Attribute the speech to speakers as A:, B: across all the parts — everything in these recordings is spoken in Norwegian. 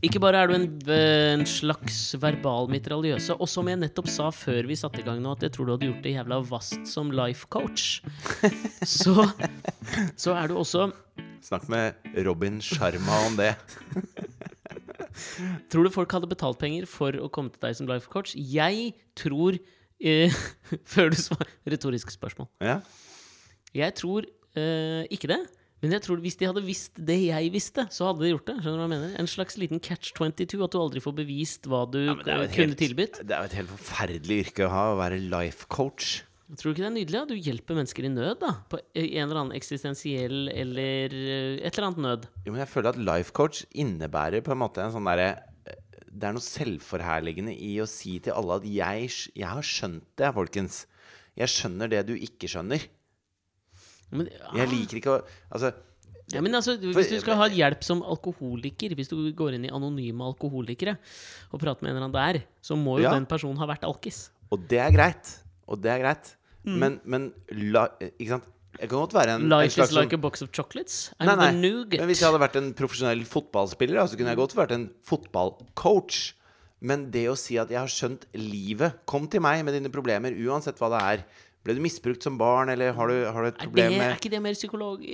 A: Ikke bare er du en, en slags verbal mitraljøse, og som jeg nettopp sa før vi satte i gang nå, at jeg tror du hadde gjort det jævla vast som life coach, så, så er du også
B: Snakk med Robin Sharma om det.
A: Tror du folk hadde betalt penger for å komme til deg som life coach? Jeg tror eh, Før du svarer Retorisk spørsmål.
B: Ja.
A: Jeg tror eh, ikke det. Men jeg tror hvis de hadde visst det jeg visste, så hadde de gjort det. Skjønner du hva jeg mener? En slags liten catch 22, at du aldri får bevist hva du
B: men det er jo et
A: kunne
B: helt-
A: tilbudt.
B: Det er jo et helt forferdelig yrke å ha, å være life coach.
A: Tror du ikke det er nydelig? Da? Du hjelper mennesker i nød, da. På en eller annen eksistensiell eller eh, et eller annet nød.
B: Jo, men jeg føler at life coach innebærer på en måte en sånn derre Det er noe selvforherligende i å si til alle at jeg, sk- jeg har skjønt det, folkens. Jeg skjønner det du ikke skjønner.
A: Men, ah,
B: Jeg liker ikke å Altså,
A: Ja, men altså, Hvis du skal ha hjelp som alkoholiker, hvis du går inn i anonyme alkoholikere og prater med en eller annen der, så må jo
B: Ja.
A: den personen ha vært alkis.
B: Og det er greit. Og det er greit. Men, men la, Ikke sant? Jeg kan godt være en, en
A: Mm. Life
B: slags
A: is like
B: sånn-
A: a box of chocolates. I'm
B: Nei, nei.
A: the nougat.
B: Men hvis jeg hadde vært en profesjonell fotballspiller, da, så kunne jeg godt vært en fotballcoach. Men det å si at 'jeg har skjønt livet', kom til meg med dine problemer, uansett hva det er. Ble du misbrukt som barn, eller har du, har du et
A: er,
B: problem
A: det, er
B: med
A: ikke det mer psykolog...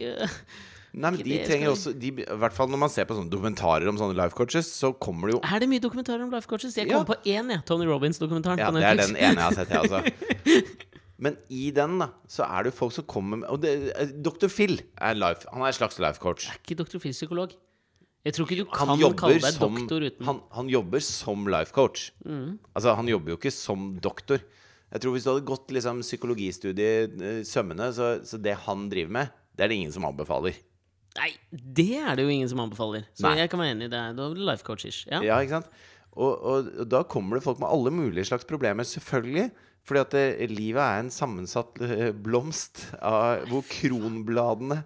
B: Nei, men
A: ikke
B: de
A: det
B: trenger
A: skal
B: også de, I hvert fall når man ser på sånne dokumentarer om sånne life coaches, så kommer det jo
A: Er det mye dokumentarer om life coaches? Jeg
B: Ja.
A: kom på én, jeg. Tony Robins-dokumentaren
B: Ja,
A: på
B: det er
A: Netflix.
B: den ene jeg har sett, jeg også. Men i den da, så er det jo folk som kommer med Og det, Dr. Phil er life, han er en slags life coach.
A: Er ikke doktor Phil psykolog? Jeg tror ikke du
B: Han,
A: kan
B: jobber,
A: kalle deg
B: som,
A: doktor uten Mm.
B: han, han jobber som life coach. Altså, han jobber jo ikke som doktor. Jeg tror Hvis du hadde gått liksom, psykologistudiet eh, sømmene, så, så det han driver med, det er det ingen som anbefaler.
A: Nei, det er det jo ingen som anbefaler. Så
B: Nei.
A: jeg kan være enig i det. Da er du life coach-ish. Ja.
B: Ja, ikke sant? Og, og, og da kommer det folk med alle mulige slags problemer, selvfølgelig. Fordi at eh, livet er en sammensatt eh, blomst av, hvor kronbladene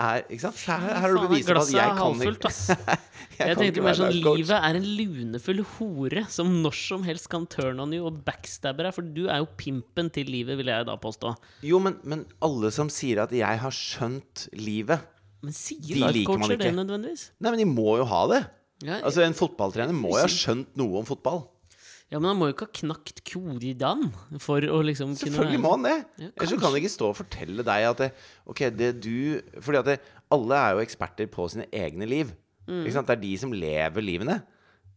B: er Ikke sant? Så her, her er det
A: Faen,
B: beviset på at
A: glasset
B: jeg
A: er
B: kan
A: halvfullt,
B: ikke
A: ass.
B: Jeg,
A: Jeg
B: kan ikke
A: tenkte mer
B: være
A: sånn
B: life coach.
A: Livet er en lunefull hore som når som helst kan turn on you og backstabbe deg, for du er jo pimpen til livet, vil jeg da påstå.
B: Jo, men, men alle som sier at 'jeg har skjønt livet'
A: Men sier
B: De
A: life
B: liker man
A: coacher det
B: ikke.
A: nødvendigvis?
B: Nei, men de må jo ha det.
A: Ja,
B: Altså, En fotballtrener må jo ha skjønt noe om fotball.
A: ja, men han må jo ikke ha knakt kodedan for å liksom kunne
B: Selvfølgelig må han det.
A: Ja,
B: Ellers så kan han ikke stå og fortelle deg at det, Ok, det du Fordi at det, alle er jo eksperter på sine egne liv.
A: Mm.
B: Ikke sant? Det er de som lever livene.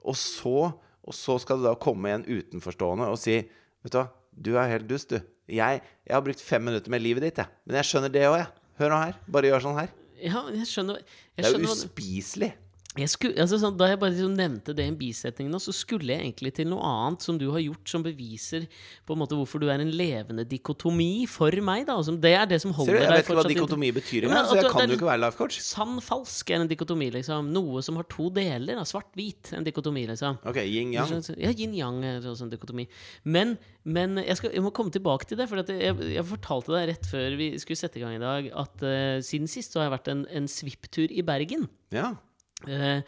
B: Og så, og så skal det da komme en utenforstående og si Vet du hva, du er helt dust, du. Jeg, jeg har brukt fem minutter med livet ditt, jeg. Men jeg skjønner det òg, jeg. Hør nå her. Bare gjør sånn her.
A: Ja, jeg skjønner, jeg
B: Det er jo
A: skjønner hva du-
B: uspiselig.
A: jeg skulle, altså sånn, Da jeg bare liksom nevnte det i en bisetning nå, så skulle jeg egentlig til noe annet som du har gjort, som beviser på en måte hvorfor du er en levende dikotomi for meg. da og som, Det er det som
B: Ser du,
A: holder deg
B: jeg vet ikke hva
A: fortsatt i-
B: dikotomi betyr
A: Ja, men
B: engang, så
A: at du-
B: jeg
A: det
B: kan
A: er-
B: jo ikke være life coach.
A: Sann falsk er en dikotomi, liksom. Noe som har to deler. da. Svart-hvit er en dikotomi, liksom.
B: Ok, yin-yang.
A: Ja, yin-yang er også en dikotomi. Men, men jeg, skal, jeg må komme tilbake til det. For at jeg, jeg fortalte deg rett før vi skulle sette i gang i dag, at eh, siden sist så har jeg vært en, en svipptur i Bergen.
B: Ja.
A: Eh,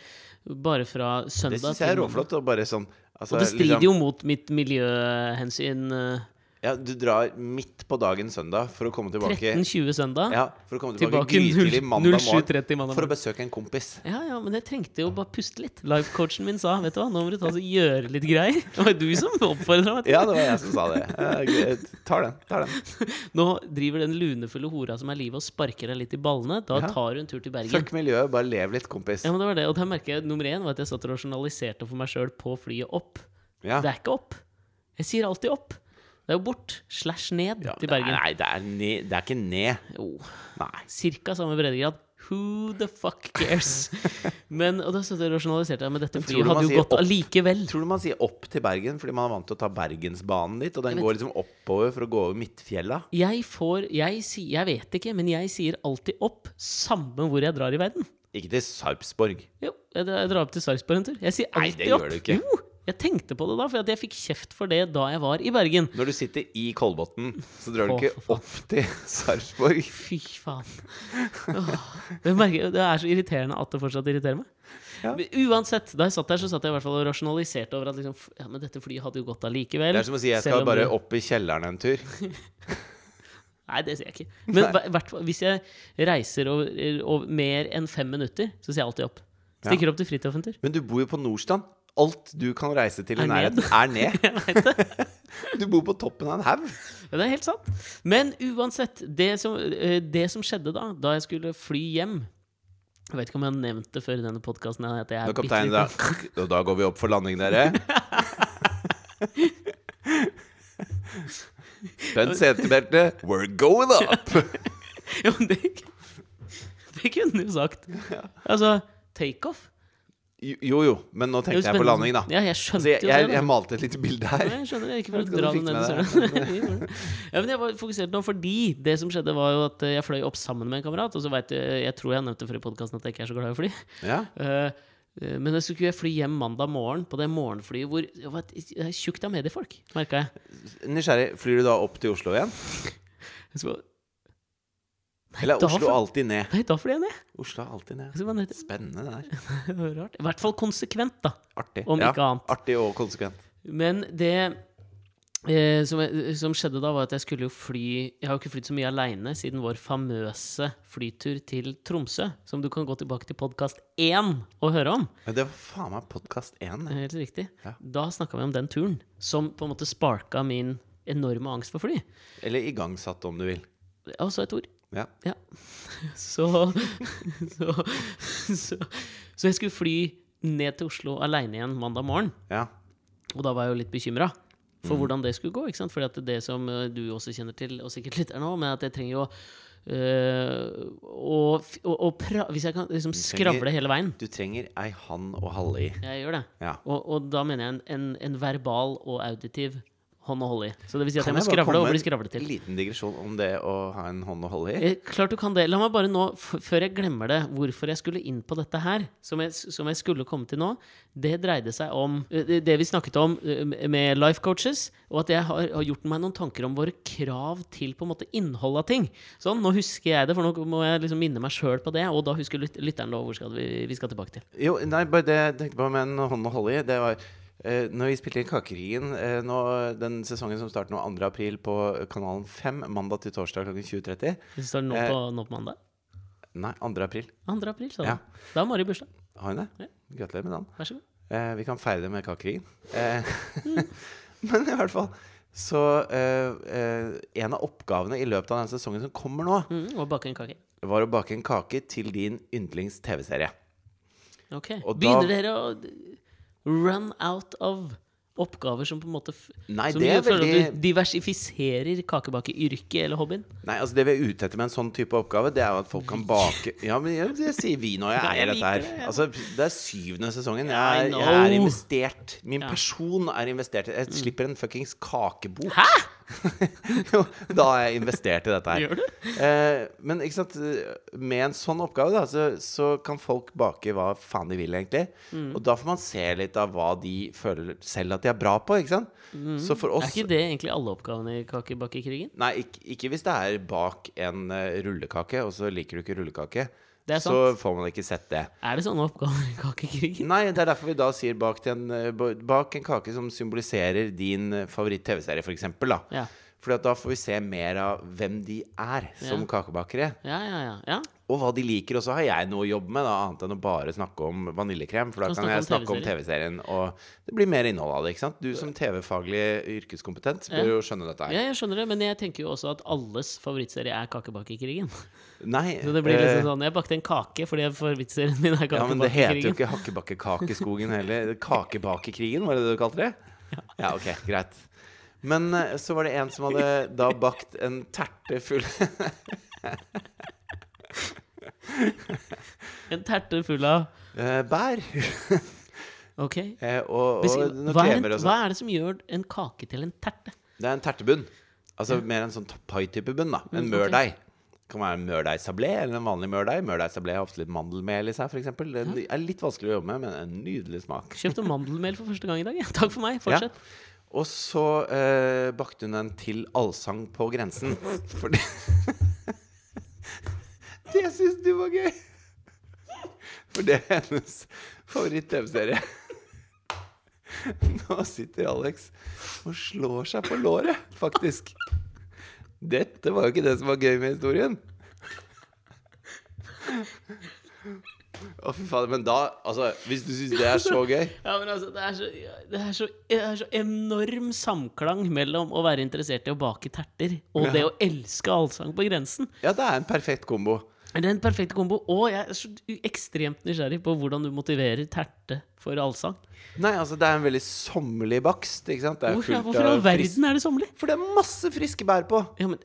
A: bare fra søndag
B: Det syns jeg er råflott. Og bare sånn altså,
A: Og det strider
B: liksom-
A: jo mot mitt miljøhensyn. eh,
B: Ja, du drar midt på dagen søndag for å komme tilbake
A: 13.20 søndag.
B: ja, for å komme tilbake,
A: Tilbake
B: grytidlig mandag morgen
A: 07.30 mandag
B: for å
A: morgen.
B: besøke en kompis.
A: Ja, ja, men jeg trengte jo bare puste litt. Life-coachen min sa vet du hva, nå må du ta og gjøre litt greier. Det var du som oppfordra meg til
B: Ja, det var jeg som sa det. Jeg jeg tar den. tar den
A: Nå driver den lunefulle hora som er livet, og sparker deg litt i ballene. Da
B: Ja.
A: tar hun tur til Bergen.
B: Fuck miljøet, bare lev litt, kompis.
A: Ja, men det var det. Og der merker jeg nummer én var at jeg satt og rasjonaliserte for meg sjøl på flyet opp.
B: Ja.
A: Det er ikke opp. Jeg sier alltid opp. Det er jo bort slash ned til
B: Nei,
A: Bergen.
B: nei, det er, ne, det er ikke ned.
A: Jo,
B: Nei.
A: cirka samme breddegrad. Who the fuck cares? men, og da satt jeg og rasjonaliserte. Men dette
B: Men tror du
A: flyet
B: man
A: hadde jo
B: sier
A: gått
B: opp?
A: allikevel.
B: Tror du man sier opp til Bergen fordi man er vant til å ta Bergensbanen dit? Og den går liksom oppover for å gå over Midtfjella?
A: Jeg får jeg, si, jeg vet ikke, men jeg sier alltid opp, samme hvor jeg drar i verden. Ikke
B: Ikke til Sarpsborg.
A: Jo, jeg, dra- jeg drar opp til Sarpsborg en tur. Jeg sier
B: Nei,
A: alltid
B: det gjør
A: opp.
B: du ikke.
A: Jo, jeg tenkte på det da, for at jeg fikk kjeft for det da jeg var i Bergen.
B: Når du sitter i Kolbotn, så drar du
A: Å,
B: ikke
A: for faen.
B: opp til Sarpsborg.
A: Fy faen. Åh, Det, merker, det er så irriterende at det fortsatt irriterer meg.
B: Ja.
A: Men Uansett, da jeg satt der, så satt jeg i hvert fall og rasjonaliserte over at liksom, f- ja, men dette flyet hadde jo gått allikevel.
B: Det er som å si jeg
A: selv
B: skal
A: om
B: bare
A: det-
B: opp i kjelleren en tur.
A: Nei, det sier jeg ikke. Men
B: Nei.
A: hver- hvert fall, hvis jeg reiser over, over mer enn fem minutter, så sier jeg alltid opp. Stikker opp til fritidssenter.
B: Men du bor jo på Nordstrand. Alt du kan reise til i
A: Er ned.
B: nærheten, er ned. Du bor på toppen av en haug.
A: Ja, det er helt sant. Men uansett, det som, eh, det som skjedde da, da jeg skulle fly hjem Jeg vet ikke om jeg har nevnt det før i denne podkasten. At jeg er
B: Da kapteinen da
A: bitteliten.
B: Og da går vi opp for landing, dere. Spent setebeltet. We're going up!
A: Ja, men det, det kunne du sagt. Altså, takeoff.
B: Jo, Jo, jo, men nå
A: Det er jo
B: tenkte jeg på
A: spennende.
B: landing, da.
A: Ja, jeg
B: Så
A: skjønte
B: jeg,
A: jo
B: jeg,
A: det. da.
B: jeg malte et lite bilde her.
A: Nei, jeg skjønner det. Ikke for å
B: Hvordan
A: dra
B: skal
A: den
B: du
A: ned i
B: fikse med
A: søla. ja, men jeg var fokusert nå fordi det som skjedde, var jo at eh, jeg fløy opp sammen med en kamerat. Og så vet du, jeg tror jeg har nevnt det før i podkasten at jeg ikke er så glad i å fly.
B: Ja.
A: Eh, eh, men jeg skulle fly hjem mandag morgen på det morgenflyet hvor det var et- det er tjukt av mediefolk, merka jeg.
B: Nysgjerrig, flyr du da opp til Oslo igjen?
A: jeg skulle, nei,
B: Eller er
A: da
B: Oslo
A: fly-
B: alltid ned?
A: Nei, da fløy jeg ned.
B: Oslo er alltid ned.
A: Jeg skulle bare ned til-
B: Spennende det der.
A: Det var Rart. I hvert fall konsekvent, da.
B: Artig.
A: Om
B: Ja,
A: ikke annet.
B: Artig og konsekvent.
A: Men det eh, som, jeg- som skjedde da, var at jeg skulle jo fly Jeg har jo ikke flydd så mye aleine siden vår famøse flytur til Tromsø, som du kan gå tilbake til podkast 1 og høre om.
B: Men det var faen meg podkast én.
A: Det er Helt riktig.
B: Ja.
A: Da snakka vi om den turen, som på en måte sparka min enorme angst for fly.
B: Eller igangsatt, om du vil.
A: Og så et ord.
B: Ja.
A: Ja. Så så, så så jeg skulle fly ned til Oslo aleine igjen mandag morgen.
B: ja.
A: Og da var jeg jo litt bekymra
B: Mm.
A: for hvordan det skulle gå. ikke sant? Fordi at det som eh, du også kjenner til, og sikkert litt er nå, men at jeg trenger jo eh, å, f- å, å pra Hvis jeg kan liksom
B: trenger-
A: skravle hele veien.
B: Du trenger ei hann og halle i.
A: Jeg gjør det.
B: Ja.
A: Og, og da mener jeg en, en, en verbal og auditiv hånd å holde i. Så det vil si at
B: Kan
A: jeg må
B: jeg bare
A: skravle og
B: komme
A: bli skravlet
B: En
A: til.
B: liten digresjon om det å ha en hånd å holde i.
A: Eh, Klart du kan det. La meg bare nå, f før jeg glemmer det, hvorfor jeg skulle inn på dette her, som jeg, som jeg skulle komme til nå, det dreide seg om eh, det- det vi snakket om eh, med life coaches, og at jeg har, har gjort meg noen tanker om våre krav til på en måte innhold av ting. Sånn, nå husker jeg det, for nå må jeg liksom minne meg sjøl på det, og da husker lyt lytteren da hvor skal vi, vi skal tilbake til.
B: Jo, nei, bare det jeg tenkte på med en hånd å holde i, det var eh, når vi spilte inn Kakekrigen eh, nå, den sesongen som starter nå 2. april på kanalen 5, mandag til torsdag klokken 20.30
A: Vi starter nå
B: Eh.
A: på, nå på mandag.
B: Nei, 2. april.
A: 2. april, sa du.
B: Ja.
A: Da har Mari bursdag.
B: Har hun det? Gratulerer med dagen.
A: Vær så god.
B: Eh, vi kan feire det med kakekrigen. Eh,
A: Mm.
B: men i hvert fall så eh, eh, En av oppgavene i løpet av den sesongen som kommer nå,
A: Mm, og bake en kake.
B: var å bake en kake til din yndlings-TV-serie.
A: Ok.
B: Og da-
A: Begynner dere å d- run out of oppgaver som på en måte f
B: Nei,
A: som
B: det
A: gjør-
B: er
A: føler at
B: veldig-
A: du diversifiserer kakebakeyrket eller hobbyen?
B: Nei, altså Det vi er ute etter med en sånn type oppgave, Det er jo at folk kan bake Ja, men jeg, jeg sier vi når jeg
A: Nei, jeg
B: eier dette her.
A: liker det, ja.
B: Altså, Det er syvende sesongen.
A: I
B: Jeg er, jeg
A: know.
B: er investert.
A: Ja.
B: Min
A: Mm.
B: person er investert. Jeg slipper en fuckings kakebok.
A: Hæ?!
B: Jo, da har jeg investert i dette her.
A: Gjør du?
B: Eh, men ikke sant, med en sånn oppgave da, så, så kan folk bake hva faen de vil, egentlig.
A: Mm.
B: Og da får man se litt av hva de føler selv at de er bra på. ikke sant? Så for
A: Er
B: oss
A: ikke Mm. det egentlig alle oppgavene i kakebakekrigen?
B: Nei, ikke, ikke hvis det er bak en eh, rullekake, og så liker du ikke rullekake.
A: Det er
B: Så får man ikke sett det.
A: Er det sånne oppgaver i kakekrigen?
B: Nei, det er derfor vi da sier bak, til en, eh, ba- bak en kake som symboliserer din eh, favoritt-TV-serie, for eksempel, da.
A: Ja.
B: Fordi at da får vi se mer av hvem de er som
A: Ja.
B: kakebakere.
A: Ja, ja, ja. ja.
B: Og hva de liker. Og så har jeg noe å jobbe med, da, annet enn å bare snakke om vaniljekrem. For da
A: Kan
B: kan
A: snakke
B: jeg
A: om
B: snakke om TV-serien, og det blir mer innhold av det. ikke sant? Du som TV-faglig yrkeskompetent
A: Ja.
B: bør jo skjønne dette her.
A: ja jeg skjønner det, men jeg tenker jo også at alles favorittserie er kakebakekrigen.
B: Nei,
A: Så det blir liksom
B: eh,
A: sånn Jeg bakte en kake fordi favorittserien min er
B: ja, men det heter
A: kakebakekrigen.
B: jo ikke Hakkebakkekakeskogen heller. Kakebakekrigen, var det det du kalte det? Ja, ok, greit. Men eh, så var det en som hadde da bakt en terte full
A: en terte full av
B: eh, bær.
A: Ok.
B: Eh, og,
A: Beskriv-
B: og noen
A: hva, er en,
B: kremer og sånn.
A: hva er det som gjør en kake til en terte?
B: Det er en tertebunn. Altså mer en sånn pai-type bunn, da.
A: Mm,
B: En
A: ok.
B: mørdeig. Det kan være en mørdeig-sablé eller en vanlig mørdeig. Mørdeig-sablé har ofte litt mandelmel i seg, f.eks. Den er litt vanskelig å jobbe med, men en nydelig smak.
A: Kjøpte mandelmel for første gang i dag. Ja. Takk for meg. Fortsett.
B: Og så eh, bakte hun en til allsang på grensen. Fordi Det syns du var gøy! For det er hennes favoritt-TV-serie. Nå sitter Alex og slår seg på låret, faktisk. Dette var jo ikke det som var gøy med historien. Å, fy fader. Men da Altså, hvis du syns det er så gøy
A: Ja, men altså, det er, så, det, er så, det er så enorm samklang mellom å være interessert i å bake terter og det å elske allsang på grensen.
B: Ja, det er en perfekt kombo.
A: Det er en perfekt kombo, og jeg er så u- ekstremt nysgjerrig på hvordan du motiverer terte for allsang.
B: Nei, altså, det er en veldig sommerlig bakst, ikke sant? Det er
A: Hvorfor,
B: fullt
A: hvorfor i all
B: av fris-
A: verden er det sommerlig?
B: For det er masse friske bær på.
A: Ja, men,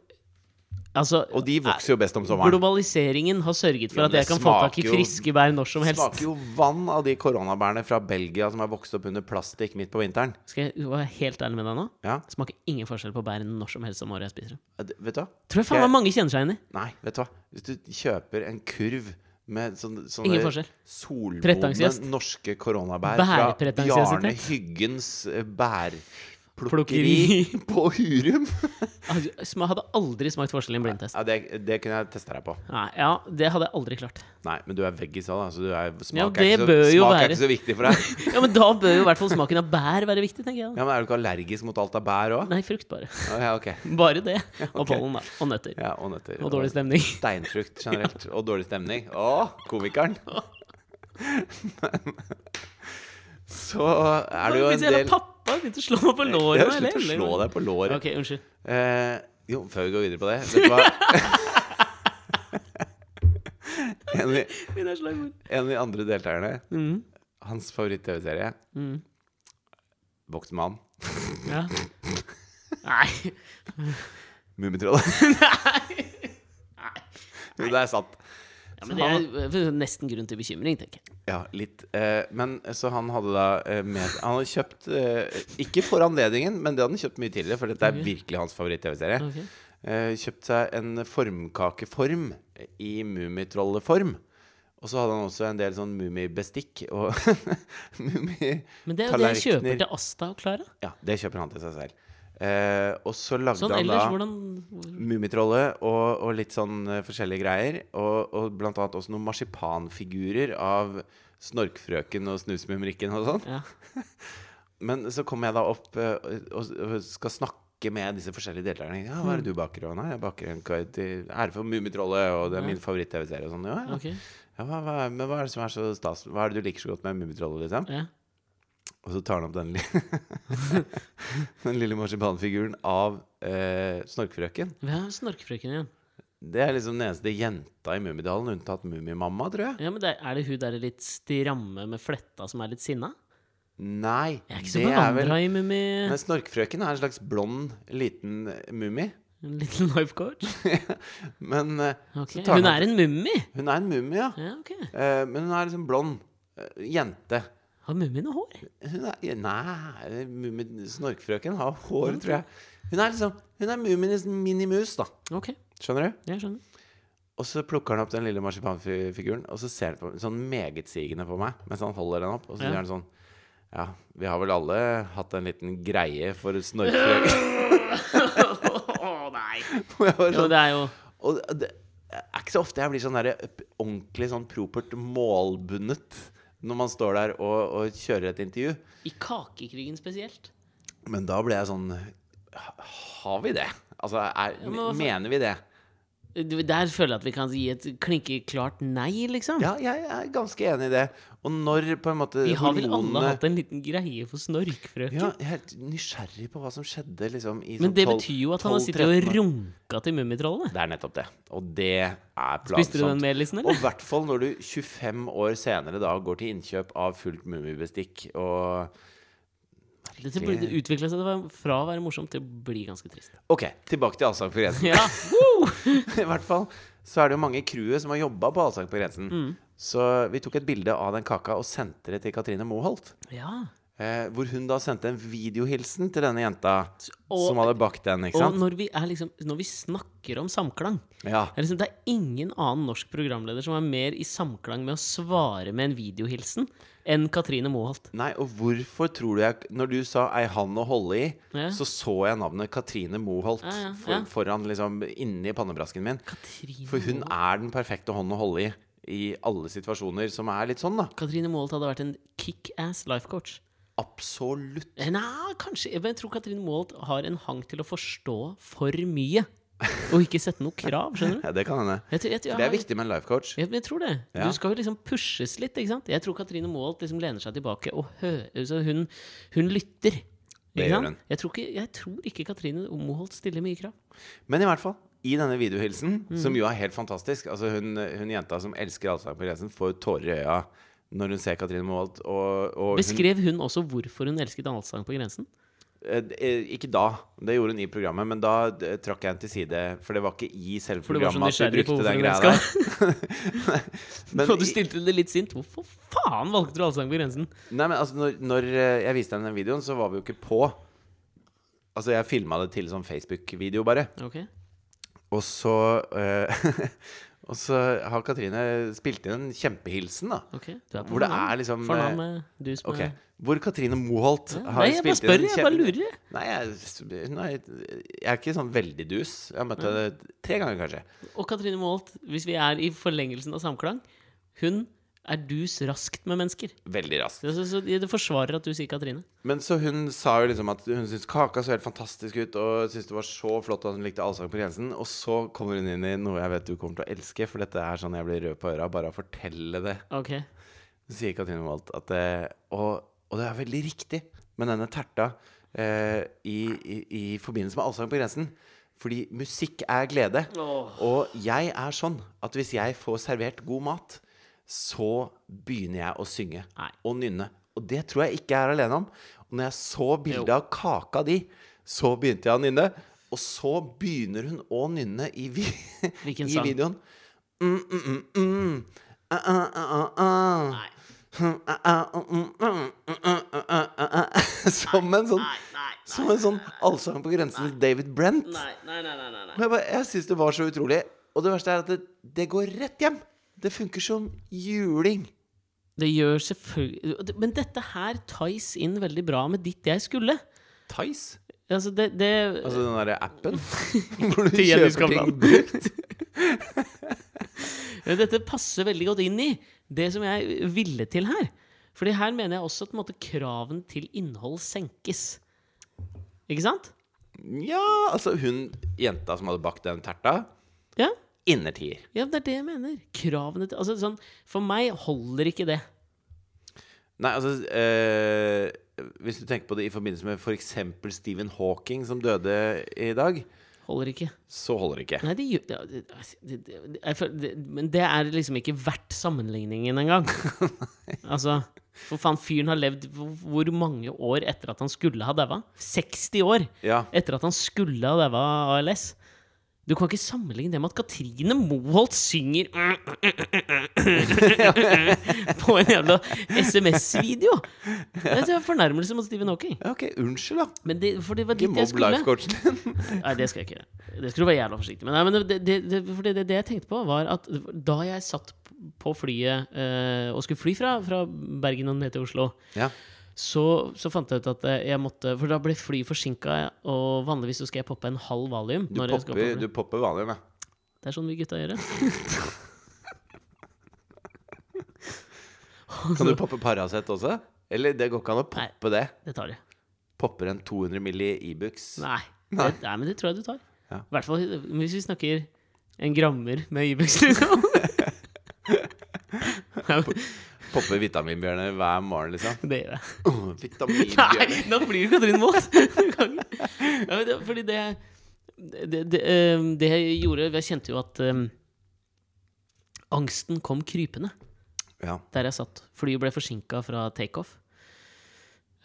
A: altså,
B: Og de vokser jo best om sommeren.
A: globaliseringen har sørget for
B: Jo, men
A: at jeg
B: det
A: kan få tak i
B: smaker jo-
A: friske bær når som
B: Det
A: helst.
B: smaker jo vann av de koronabærene fra Belgia som er vokst opp under plastikk midt på vinteren.
A: Skal jeg være helt ærlig med deg nå?
B: Ja,
A: Det smaker ingen forskjell på bærene når som helst om året jeg spiser dem.
B: det- vet du hva?
A: Tror jeg faen
B: Jeg-
A: meg mange kjenner seg igjen i.
B: Nei, vet du hva? Hvis du kjøper en kurv med sånn, sånne,
A: Ingen
B: sånne
A: forskjell. Pretensiøst.
B: solmodne norske koronabær fra
A: Bærpretensiøsitet.
B: Bjarne Hyggens eh,
A: Plukkeri.
B: bærplukkeri på Hurum
A: Altså, sma- Hadde aldri smakt forskjell i en blindtest.
B: ja, det, det kunne jeg testa deg på.
A: Nei, ja, det hadde jeg aldri klart.
B: Nei, men du er veggis òg, da, så altså. du er, smak,
A: Ja,
B: er,
A: det
B: ikke
A: bør
B: så,
A: jo
B: smak er
A: være.
B: ikke så viktig for deg.
A: Ja, Men da bør jo i hvert fall smaken av bær være viktig, tenker jeg. da.
B: Ja, men Er du ikke allergisk mot alt av bær òg?
A: Nei, frukt bare.
B: Ja, ok.
A: Bare det. Og
B: ok.
A: pollen, da. Og nøtter.
B: Ja, og nøtter.
A: Og dårlig stemning.
B: Steinfrukt generelt, og dårlig stemning. Å, komikeren! Men så er det jo en
A: Hvis hele
B: del
A: pappa begynte å slå meg på
B: Ja,
A: låret.
B: Slutt å slå deg på låret.
A: Ok, unnskyld.
B: Eh, jo, før vi går videre på det Vet du hva? en, av-
A: Mine er slagord.
B: en av de andre deltakerne,
A: Mm.
B: hans favoritt-TV-serie, Voksen mann,
A: Ja. Nei.
B: Mummitrollet.
A: Nei.
B: Jo, det er sant.
A: Ja, men det er eh, nesten grunn til bekymring, tenker jeg.
B: Ja, litt. Eh, men så han hadde da eh, med Han hadde kjøpt eh, Ikke for anledningen, men det hadde han kjøpt mye tidligere, for dette er
A: Mhm.
B: virkelig hans favoritt-TV-serie.
A: Ok.
B: Eh, kjøpt seg en formkakeform i Mummitrolleform. Og så hadde han også en del sånn mummibestikk og
A: Men det er jo det jeg
B: Tallerkener.
A: kjøper til Asta og Klara.
B: Ja, det kjøper han til seg selv. Eh, og så lagde
A: Sånn
B: han da
A: ellers, hvordan
B: Mummitrollet og, og litt sånn eh, forskjellige greier. Og, og blant annet også noen marsipanfigurer av Snorkfrøken og Snusmumrikken og sånn.
A: Ja.
B: Men så kommer jeg da opp eh, og, og skal snakke med disse forskjellige deltakerne. Ja, hva er det du baker? Og, nei, jeg baker en kar til ære for Mummitrollet, og det er min favoritt-TV-serie. Og sånn. Ja, ja.
A: Ok.
B: Ja, hva, hva, men hva er det som er så stas? Hva er det du liker så godt med Mummitrollet, liksom?
A: Ja.
B: Og så tar han opp den, li den lille marsipanfiguren av eh, Snorkfrøken.
A: Vi har Snorkfrøken igjen.
B: Det er liksom den eneste jenta i Mummidalen, unntatt Mummimamma, tror jeg.
A: Ja, men det, Er det hun der litt stramme med fletta som er litt sinna?
B: Nei,
A: Jeg er ikke så bevandra i Mummi.
B: Men Snorkfrøken er en slags blond, liten eh, mummi.
A: En liten life coach.
B: Men eh,
A: Ok,
B: så tar
A: Hun
B: han
A: er en mummi!
B: opp- hun er en mummi, ja.
A: Ja, ok.
B: Eh, men hun er liksom blond. eh, jente.
A: Har mummien noe hår?
B: Hun er Nei, mummi- Snorkfrøken har hår, tror jeg. Hun er liksom Hun er mummienes minimus, da.
A: Ok,
B: Skjønner du?
A: jeg skjønner.
B: Og så plukker han opp den lille marsipanfiguren, og så ser han på, sånn megetsigende på meg mens han holder den opp, og så
A: Ja.
B: sier han sånn Ja, vi har vel alle hatt en liten greie for snorkfrøken.
A: Å nei!
B: Og jeg var
A: Jo,
B: sånn,
A: det er jo
B: og det er ikke så ofte jeg blir sånn der, ordentlig sånn propert målbundet når man står der og, og kjører et intervju.
A: I kakekrigen spesielt.
B: Men da ble jeg sånn Har vi det? Altså, er,
A: men hva for-
B: mener vi det?
A: Du, Der føler jeg at vi kan gi et klinkeklart nei, liksom.
B: Ja, jeg er ganske enig i det. Og når på en måte
A: Vi har vel alle
B: hormonene-
A: hatt en liten greie for snorkfrøken?
B: Ja, jeg er helt nysgjerrig på hva som skjedde liksom, i
A: Men
B: sånn
A: det
B: 12
A: betyr jo at han har
B: 12,
A: sittet og
B: 13 år.
A: runka til mummitrollene.
B: Det er nettopp det. Og det er
A: Spiste du den
B: plagsomt.
A: melisen,
B: Og i
A: eller?
B: hvert fall når du 25 år senere da går til innkjøp av fullt mummibestikk og
A: Dette burde utvikle seg til å være- fra å være morsomt til å bli ganske trist.
B: Ok, tilbake til Allsang på grensen.
A: Ja,
B: I hvert fall så er det jo mange i crewet som har jobba på Allsang på grensen.
A: Mm.
B: Så vi tok et bilde av den kaka og sendte det til Katrine Moholt.
A: ja.
B: Eh, hvor hun da sendte en videohilsen til denne jenta
A: og-
B: som hadde bakt den, ikke
A: Og
B: sant?
A: når vi, er liksom, når vi snakker om samklang
B: Ja.
A: Det er, liksom, det er ingen annen norsk programleder som er mer i samklang med å svare med en videohilsen enn Katrine Moholt.
B: Nei, og hvorfor tror du jeg Når du sa 'ei hand å holde i',
A: Ja.
B: så så jeg navnet Katrine Moholt
A: Ja, ja,
B: for,
A: ja.
B: foran liksom inni pannebrasken min.
A: Katrine,
B: For hun
A: Moholt.
B: er den perfekte hånden å holde i i alle situasjoner som er litt sånn, da.
A: Katrine Moholt hadde vært en kickass life coach.
B: Absolutt.
A: Eh, Nei, kanskje Men jeg tror Katrine Moholt har en hang til å forstå for mye. Og ikke sette noe krav, skjønner du.
B: Ja, det kan hende.
A: Jeg, tror- jeg, tror-
B: For det er viktig med en life coach.
A: Jeg, jeg tror det.
B: Ja.
A: Du skal jo liksom pushes litt. ikke sant? Jeg tror Katrine Moholt liksom lener seg tilbake og hører så hun, hun lytter.
B: Det
A: Ikke
B: gjør
A: sant?
B: hun.
A: Jeg, tror ikke, jeg tror ikke Katrine Moholt stiller mye krav.
B: Men i hvert fall, i denne videohilsen, som jo er helt fantastisk Altså Hun, hun jenta som elsker Allsang på grensen, får tårer i øya når hun ser Katrine Moholt. Og, og hun,
A: Beskrev hun også hvorfor hun elsket Allsang på grensen?
B: eh, eh, ikke da, det gjorde hun i programmet, men da eh, trakk jeg henne til side. For det var ikke i selve
A: For du var så
B: programmet at vi
A: nysgjerrig på
B: brukte den
A: hvorfor
B: greia
A: hun
B: der. Men
A: Og du
B: i-
A: stilte det litt sint. Hvorfor faen valgte du Allsang på grensen?
B: Nei, men altså, når, når eh, jeg viste henne den videoen, så var vi jo ikke på. Altså, jeg filma det til sånn Facebook-video, bare.
A: Ok.
B: Og så eh, Og så har Katrine spilt inn en kjempehilsen, da.
A: ok. Du er på
B: Hvor det
A: fornavn.
B: er liksom, eh,
A: Fornavn eh, du som
B: Ok.
A: er
B: Hvor Katrine Moholt
A: Ja.
B: har
A: Nei, jeg bare
B: spilt inn
A: spør, jeg bare lurer. jeg.
B: Nei, jeg, nei, jeg er ikke sånn veldig dus. Jeg har møtt henne tre ganger, kanskje.
A: Og Katrine Moholt, hvis vi er i forlengelsen av samklang, hun er dus raskt med mennesker.
B: Veldig raskt.
A: Så, så, så det forsvarer at du sier Katrine.
B: Men så hun sa jo liksom at hun syntes kaka så helt fantastisk ut, og syntes det var så flott at hun likte Allsang på grensen. Og så kommer hun inn i noe jeg vet du kommer til å elske, for dette er sånn jeg blir rød på øra bare av å fortelle det.
A: Ok.
B: Så sier Katrine Walt at eh, og, og det er veldig riktig, men denne terta eh, i, i, i forbindelse med Allsang på grensen fordi musikk er glede.
A: Åh.
B: Og jeg er sånn at hvis jeg får servert god mat, så begynner jeg å synge
A: Nei.
B: og nynne. Og det tror jeg ikke jeg er alene om. Og når jeg så bildet
A: Jo.
B: av kaka di, så begynte jeg å nynne. Og så begynner hun å nynne i, vi
A: Hvilken
B: i
A: sang?
B: videoen. Mm, mm, mm, mm. Ah, ah, ah, ah, ah.
A: Nei.
B: Hm, ah, ah, mm, mm, mm, mm, mm, mm, mm, mm. Som en sånn
A: Nei, nei,
B: Som en sånn Allsang på grensen til David Brent.
A: nei, nei, nei, nei, nei,
B: Og jeg, bare- jeg syns det var så utrolig. Og det verste er at det, det går rett hjem. Det funker som juling.
A: Det gjør selvfølgelig Men dette her ties inn veldig bra med ditt jeg skulle.
B: Tice?
A: Altså, det, det
B: Altså den derre appen hvor du
A: Til Jenny
B: kjøper ting
A: Skavlan.
B: brukt.
A: Men Dette passer veldig godt inn i det som jeg ville til her. Fordi her mener jeg også at på en måte, kraven til innhold senkes. Ikke sant?
B: Ja, altså hun jenta som hadde bakt den terta,
A: Ja,
B: innertier.
A: ja det er det jeg mener. Kravene til Altså sånn For meg holder ikke det.
B: Nei, altså eh, Hvis du tenker på det i forbindelse med f.eks. Stephen Hawking, som døde i dag,
A: Holder ikke.
B: så holder det ikke.
A: Nei, det gjør det, det, altså, det, det, jeg føler- det, Men det er liksom ikke verdt sammenligningen engang. altså For faen, fyren har levd hvor- hvor mange år etter at han skulle ha daua? 60 år
B: Ja,
A: etter at han skulle ha daua av ALS. Du kan ikke sammenligne det med at Katrine Moholt synger på en jævla SMS-video! Det er en fornærmelse mot Stephen Hawking.
B: Ja, OK, unnskyld, da.
A: Men det, for det var
B: Ikke
A: dit jeg
B: mobb
A: skulle.
B: life-coachen din.
A: Nei, det skal jeg ikke gjøre. Det skal du være jævla forsiktig med. Nei, men det, det, det, for det, det, det jeg tenkte på, var at da jeg satt på flyet eh, og skulle fly fra, fra Bergen og ned til Oslo,
B: Ja.
A: så, så fant jeg ut at eh, jeg måtte For da ble flyet forsinka, og vanligvis så skal jeg poppe en halv valium.
B: Du,
A: når jeg skal på
B: popper,
A: fly.
B: du popper vanlig med.
A: Det er sånn vi gutta gjør det.
B: Kan du poppe Paracet også? Eller det går ikke an å poppe det.
A: Det tar de.
B: Popper en 200 milli Ibux.
A: Nei.
B: Nei.
A: Det, nei, men det tror jeg du tar. I
B: Ja.
A: hvert fall hvis vi snakker en grammer med Ibux, liksom.
B: Popper vitaminbjørner hver morgen, liksom.
A: Det gjør jeg.
B: Åh, vitaminbjørner.
A: Nei, nå blir du Katrin Moholt! Du kan ikke. ja, men det, fordi det det, det, ehm, det jeg gjorde Jeg kjente jo at ehm, angsten kom krypende
B: Ja.
A: der jeg satt. Flyet ble forsinka fra takeoff.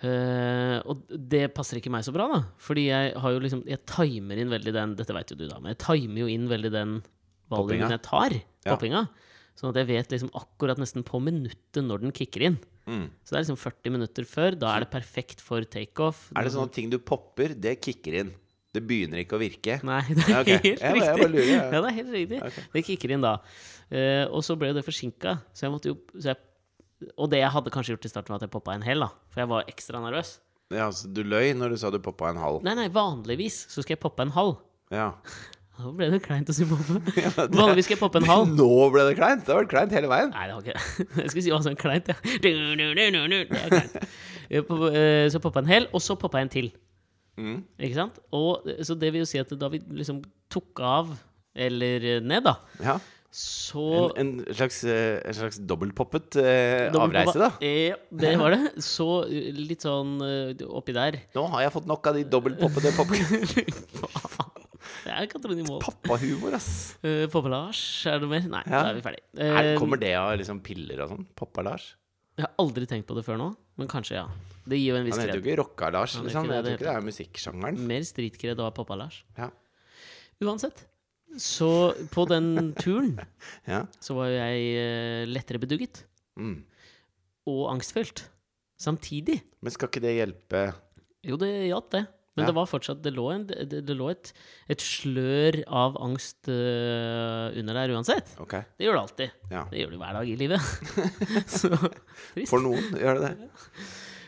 A: Eh, og det passer ikke meg så bra, da. Fordi jeg har jo liksom Jeg timer inn veldig den Dette vet jo du, da, men jeg timer jo inn veldig den
B: Poppinga.
A: valiumen jeg tar.
B: Ja.
A: Poppinga. Sånn at jeg vet liksom akkurat nesten på minuttet når den kicker inn.
B: Mm.
A: Så det er liksom 40 minutter før. Da er det perfekt for takeoff.
B: Er det sånn at ting du popper, det kicker inn? Det begynner ikke å virke?
A: Nei, det er
B: Ja, ok.
A: helt
B: Jeg bare- jeg
A: riktig.
B: bare lurer, jeg.
A: Ja, det er helt riktig. Det kicker inn da. Eh, og så ble det forsinka, så jeg måtte jo så jeg, Og det jeg hadde kanskje gjort i starten, var at jeg poppa en hel, da. For jeg var ekstra nervøs.
B: Ja, altså, du løy når du sa du poppa en halv.
A: Nei, nei, vanligvis så skal jeg poppe en halv.
B: Ja.
A: Da ble det kleint å si poppe. Vanligvis skal jeg poppe en halv.
B: Nå ble det kleint! Det har vært kleint hele veien.
A: Nei, det var ikke det. Jeg skulle si det var sånn kleint, ja. Du, du, du, du, du. Det er kleint. Eh, på- eh,
B: Mm.
A: Så poppa en hel, og så poppa jeg en til. Ikke sant? Og, eh, så det vil jo si at da vi liksom tok av, eller eh, ned, da,
B: Ja.
A: så
B: En, en slags, eh, en slags dobbeltpoppet eh,
A: Da må vi
B: avreise,
A: bare-
B: da.
A: Ja, det var det. Så eh, litt sånn eh, oppi der.
B: Nå har jeg fått nok av de dobbeltpoppede pop-
A: Det er katronimol.
B: pappahumor, ass.
A: Uh, Poppelasj, er det noe mer? Nei,
B: Ja.
A: da er vi ferdig.
B: Er,
A: Eh,
B: kommer det av liksom piller og sånn? Poppa-Lars?
A: Jeg har aldri tenkt på det før nå, men kanskje, ja. Det gir jo en viss
B: Han heter jo
A: kred.
B: ikke Rocka-Lars,
A: Han heter
B: liksom.
A: ikke det,
B: Jeg
A: det
B: tror ikke det er musikksjangeren.
A: Mer stritkred å ha pappa Lars.
B: Ja.
A: Uansett. Så på den turen
B: Ja.
A: så var jo jeg eh, lettere bedugget.
B: Mm.
A: Og angstfylt. Samtidig.
B: Men skal ikke det hjelpe
A: Jo, det hjalp, det. Men
B: Ja.
A: det var fortsatt Det lå, en, det, det lå et, et slør av angst eh, under der uansett.
B: Ok.
A: Det gjør det alltid.
B: Ja.
A: Det gjør det hver dag i livet. så trist.
B: For noen gjør det det.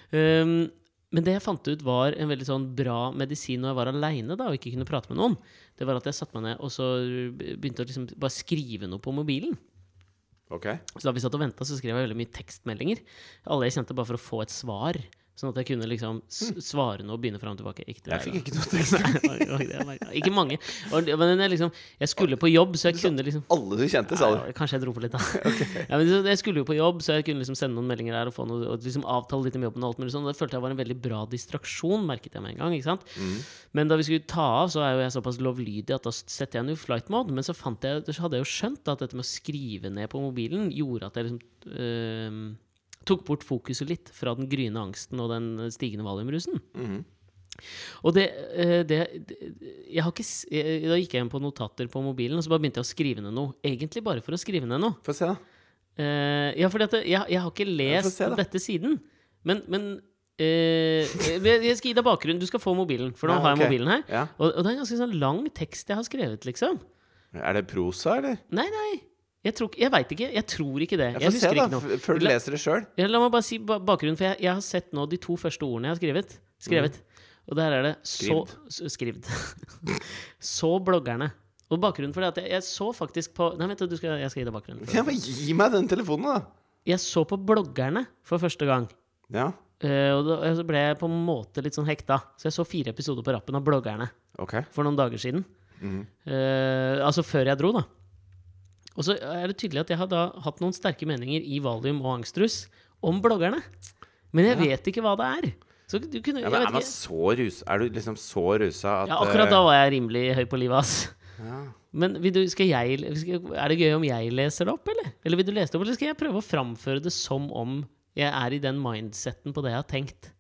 A: Um, men det jeg fant ut var en veldig sånn bra medisin når jeg var aleine og ikke kunne prate med noen. Det var at jeg satte meg ned og så begynte å liksom bare skrive noe på mobilen.
B: Ok.
A: Så da vi satt og venta, skrev jeg veldig mye tekstmeldinger. Alle jeg kjente, bare for å få et svar. Sånn at jeg kunne liksom s svare noe og begynne fram og tilbake. Ikke til deg, da.
B: Mm. Jeg fikk ikke noe tekst.
A: Nei, det var ikke det jeg merket. Ikke mange. Og det- Men jeg, liksom, jeg skulle på jobb, så jeg kunne liksom
B: Alle du kjente, sa du.
A: ja, kanskje jeg dro på litt, da. ja, men så- jeg skulle jo på jobb, så jeg kunne liksom sende noen meldinger der og, få noe, og liksom avtale litt om jobben. og alt mulig sånn. Det følte jeg var en veldig bra distraksjon, merket jeg med en gang. ikke sant?
B: Mm.
A: Men da vi skulle ta av, så er jo jeg såpass lovlydig at da setter jeg den i flight mode. Men så, fant jeg, så hadde jeg jo skjønt at dette med å skrive ned på mobilen gjorde at jeg liksom øhm, tok bort fokuset litt fra den gryende angsten og den stigende valiumrusen.
B: Mhm.
A: Og det, eh, det, det jeg har ikke, s- eh, Da gikk jeg inn på notater på mobilen og så bare begynte jeg å skrive ned noe. Egentlig bare for å skrive ned noe.
B: Få se, da.
A: Eh, ja, fordi at jeg, jeg har ikke
B: Ja, få
A: lest
B: se, da.
A: dette siden. Men, men eh, jeg jeg skal gi deg bakgrunnen. Du skal få mobilen, for nå
B: Ja,
A: har jeg
B: ok.
A: mobilen her.
B: Ja.
A: Og, og det er en ganske sånn lang tekst jeg har skrevet, liksom.
B: Er det prosa, eller?
A: Nei, nei. Jeg, tror, ikke- jeg veit ikke. Jeg tror ikke det.
B: Jeg
A: Jeg
B: får se,
A: husker
B: da.
A: ikke noe.
B: f- Før du
A: La-
B: leser det sjøl.
A: Ja, La meg bare si ba- bakgrunnen, for jeg, jeg har sett nå de to første ordene jeg har skrevet. Skrevet.
B: Mm.
A: Og der er det så s- Skrivd. så bloggerne. Og bakgrunnen for det er at jeg, jeg så faktisk på Nei, vent, du skal, jeg skal gi deg bakgrunnen. for det.
B: Ja, men gi meg den telefonen, da.
A: Jeg så på bloggerne for første gang.
B: Ja,
A: Eh, og da og så ble jeg på en måte litt sånn hekta. Så jeg så fire episoder på rappen av bloggerne
B: ok.
A: for noen dager siden.
B: Mhm.
A: Eh, altså før jeg dro, da. Og så er det tydelig at jeg har da hatt noen sterke meninger i Valium og Angstrus om bloggerne. Men jeg vet ikke hva det er. Så du kunne
B: Ja,
A: jeg
B: men eh, er,
A: vet
B: man
A: ikke.
B: så rus, er du liksom så rusa at
A: Ja, akkurat da var jeg rimelig høy på livet, ass.
B: eh, ja.
A: Men vil du, skal jeg, skal, er det gøy om jeg leser det opp, eller? Eller vil du lese det opp, eller skal jeg prøve å framføre det som om jeg er i den mindsetten på det jeg har tenkt?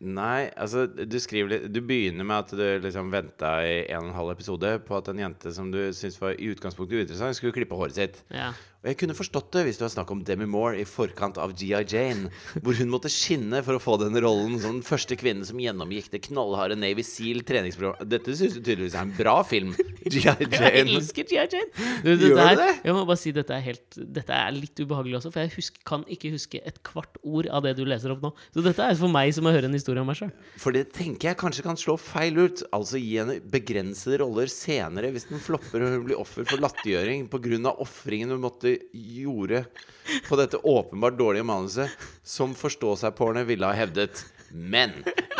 B: Nei, altså du skriver litt Du begynner med at du liksom venta i en og en halv episode på at en jente som du syntes var i utgangspunktet uinteressant, skulle klippe håret sitt.
A: Ja.
B: Og jeg kunne forstått det hvis det var snakk om Demi Moore i forkant av GI Jane, hvor hun måtte skinne for å få den rollen som den første kvinnen som gjennomgikk det knallharde Navy Seal treningsprogram Dette syns du tydeligvis er en bra film, GI
A: Jeg
B: Jane.
A: elsker G.I. Jane!
B: Gjør du
A: her-
B: det?
A: Jeg må bare si dette er, helt, dette er litt ubehagelig også, for jeg husker, kan ikke huske et kvart ord av det du leser opp nå. Så dette er for meg som å høre en historie om meg sjøl.
B: For det tenker jeg kanskje kan slå feil ut. Altså gi henne begrensede roller senere hvis den flopper og hun blir offer for latterliggjøring pga. ofringen hun måtte gjorde på dette åpenbart dårlige manuset, som forstå seg-pornoen ville ha hevdet. Men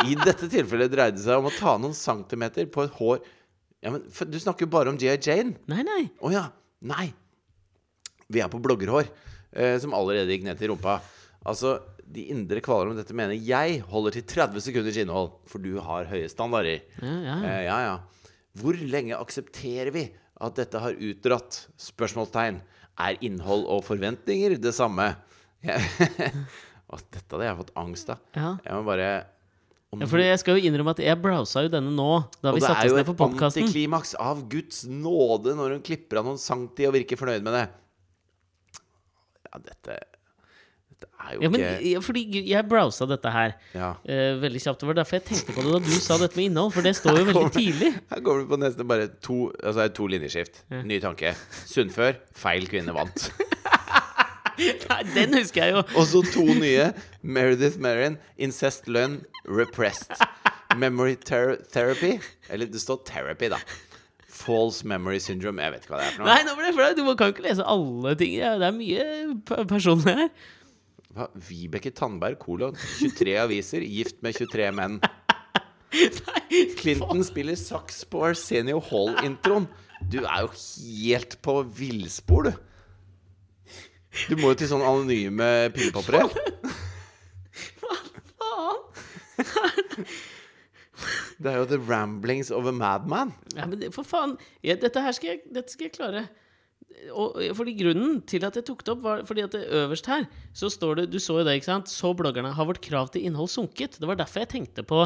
B: i dette tilfellet dreide det seg om å ta noen centimeter på et hår Ja, men for, Du snakker jo bare om G.I. Jane.
A: Nei, nei.
B: Å ja. Nei. Vi er på bloggerhår, eh, som allerede gikk ned til rumpa. Altså, de indre kvaler om dette mener jeg holder til 30 sekunders innhold, for du har høye standarder.
A: Ja, ja.
B: Eh, ja, ja. Hvor lenge aksepterer vi at dette har utdratt? Spørsmålstegn. Er innhold og forventninger det samme? Ja. Å, dette hadde jeg fått angst av.
A: Ja.
B: Jeg må bare
A: Ja, for jeg skal jo innrømme at jeg browsa jo denne nå, da vi
B: og det
A: satte
B: er
A: oss
B: jo
A: ned
B: et
A: for podkasten.
B: antiklimaks av Guds nåde når hun klipper av noen sankti og virker fornøyd med det. Ja, dette Dette er jo
A: Ja, men
B: ikke
A: ja, fordi Gud, jeg browsa dette her
B: Ja.
A: eh, veldig kjapt. Det var derfor jeg tenkte på det da du sa dette med innhold, for det står jo veldig tidlig.
B: Her går vi på nesten bare to Altså to linjeskift. Ny tanke. Sundfør. Feil kvinne vant.
A: Nei, den husker jeg jo.
B: Og så to nye. Meredith Merrin. Incest lønn. Repressed. Memory ter therapy. Eller det står therapy, da. False memory syndrome. Jeg vet ikke hva det er for noe.
A: Nei, nå ble jeg flau. Du må- kan jo ikke lese alle ting. Ja, Det er mye pe- personlig her.
B: Hva? Vibeke Tandberg, kolon. 23 aviser. Gift med 23 menn.
A: Nei,
B: Clinton spiller saks på Arsenio Hall-introen. Du er jo helt på villspor, du. Du må jo til sånne anonyme pilepoppere.
A: Faen!
B: Det er jo the ramblings of a madman.
A: Ja, men det, for faen, ja, dette her skal jeg, dette skal jeg klare. Og, fordi Grunnen til at jeg tok det opp, var fordi at det øverst her så står det Du så jo det, ikke sant? Så bloggerne. Har vårt krav til innhold sunket? Det var derfor jeg tenkte på,